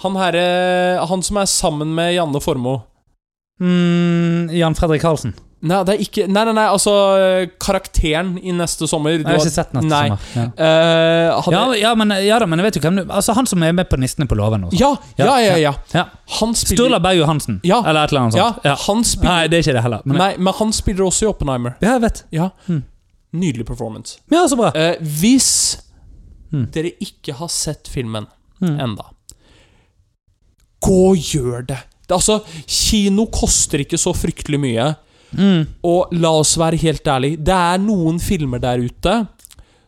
Speaker 1: Han, her, eh, han som er sammen med Janne Formoe.
Speaker 2: Mm, Jan Fredrik Karlsen.
Speaker 1: Nei, det er ikke Nei, nei, nei, altså eh, Karakteren i Neste sommer.
Speaker 2: Jeg har ikke sett Natt til
Speaker 1: Nei.
Speaker 2: sommer. Ja.
Speaker 1: Eh, hadde,
Speaker 2: Ja, ja, men, ja da, men jeg vet jo hvem du Altså, han som er med på Nissene på låven. og sånt.
Speaker 1: ja, ja, ja, ja,
Speaker 2: Ja.
Speaker 1: Han spiller
Speaker 2: Sturla Berg Johansen,
Speaker 1: Ja.
Speaker 2: eller et eller annet
Speaker 1: Ja,
Speaker 2: sånt. Ja.
Speaker 1: han spiller
Speaker 2: Nei, det er ikke det heller. Men,
Speaker 1: Nei, men han spiller også i Oppenheimer.
Speaker 2: ja, jeg vet.
Speaker 1: Ja.
Speaker 2: Mm.
Speaker 1: Nydelig performance.
Speaker 2: Ja, så bra.
Speaker 1: Eh, hvis
Speaker 2: Mm.
Speaker 1: dere ikke har sett filmen
Speaker 2: Mm.
Speaker 1: enda gå og gjør det! det er altså, kino koster ikke så fryktelig mye.
Speaker 2: Mm.
Speaker 1: Og la oss være helt ærlig, det er noen filmer der ute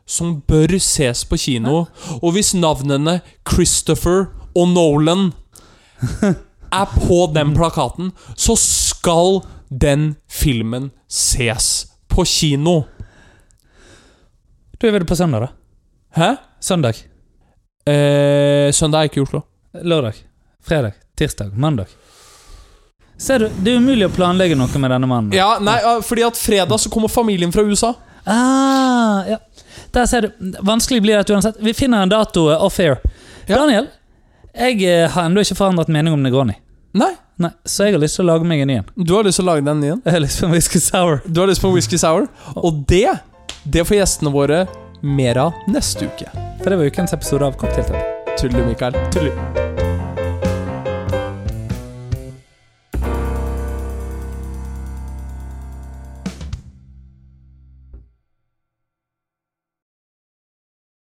Speaker 1: som bør ses på kino. Og hvis navnene Christopher og Nolan er på den plakaten, så skal den filmen ses på kino.
Speaker 2: Du er vel på søndag, da?
Speaker 1: Hæ?
Speaker 2: Søndag?
Speaker 1: Eh, søndag er ikke i Oslo.
Speaker 2: Lørdag? Fredag? Tirsdag? Mandag? Ser du, det er umulig å planlegge noe med denne mannen.
Speaker 1: Ja, nei, eh, fordi at fredag så kommer familien fra USA.
Speaker 2: Ah, ja. Der ser du. Vanskelig blir det uansett. Vi finner en dato eh, off air.
Speaker 1: Ja.
Speaker 2: Daniel, jeg eh, har ennå ikke forandret mening om Negroni.
Speaker 1: Nei,
Speaker 2: Nei, Så jeg har lyst til å lage meg en ny en.
Speaker 1: du har lyst til å lage den igjen?
Speaker 2: Jeg har lyst på en whisky sour.
Speaker 1: Du har lyst på en whisky sour? Og det, det får gjestene våre mer av neste uke.
Speaker 2: For det var ukens episode av Cocktailtime.
Speaker 1: Tuller du, Mikael? Tuller.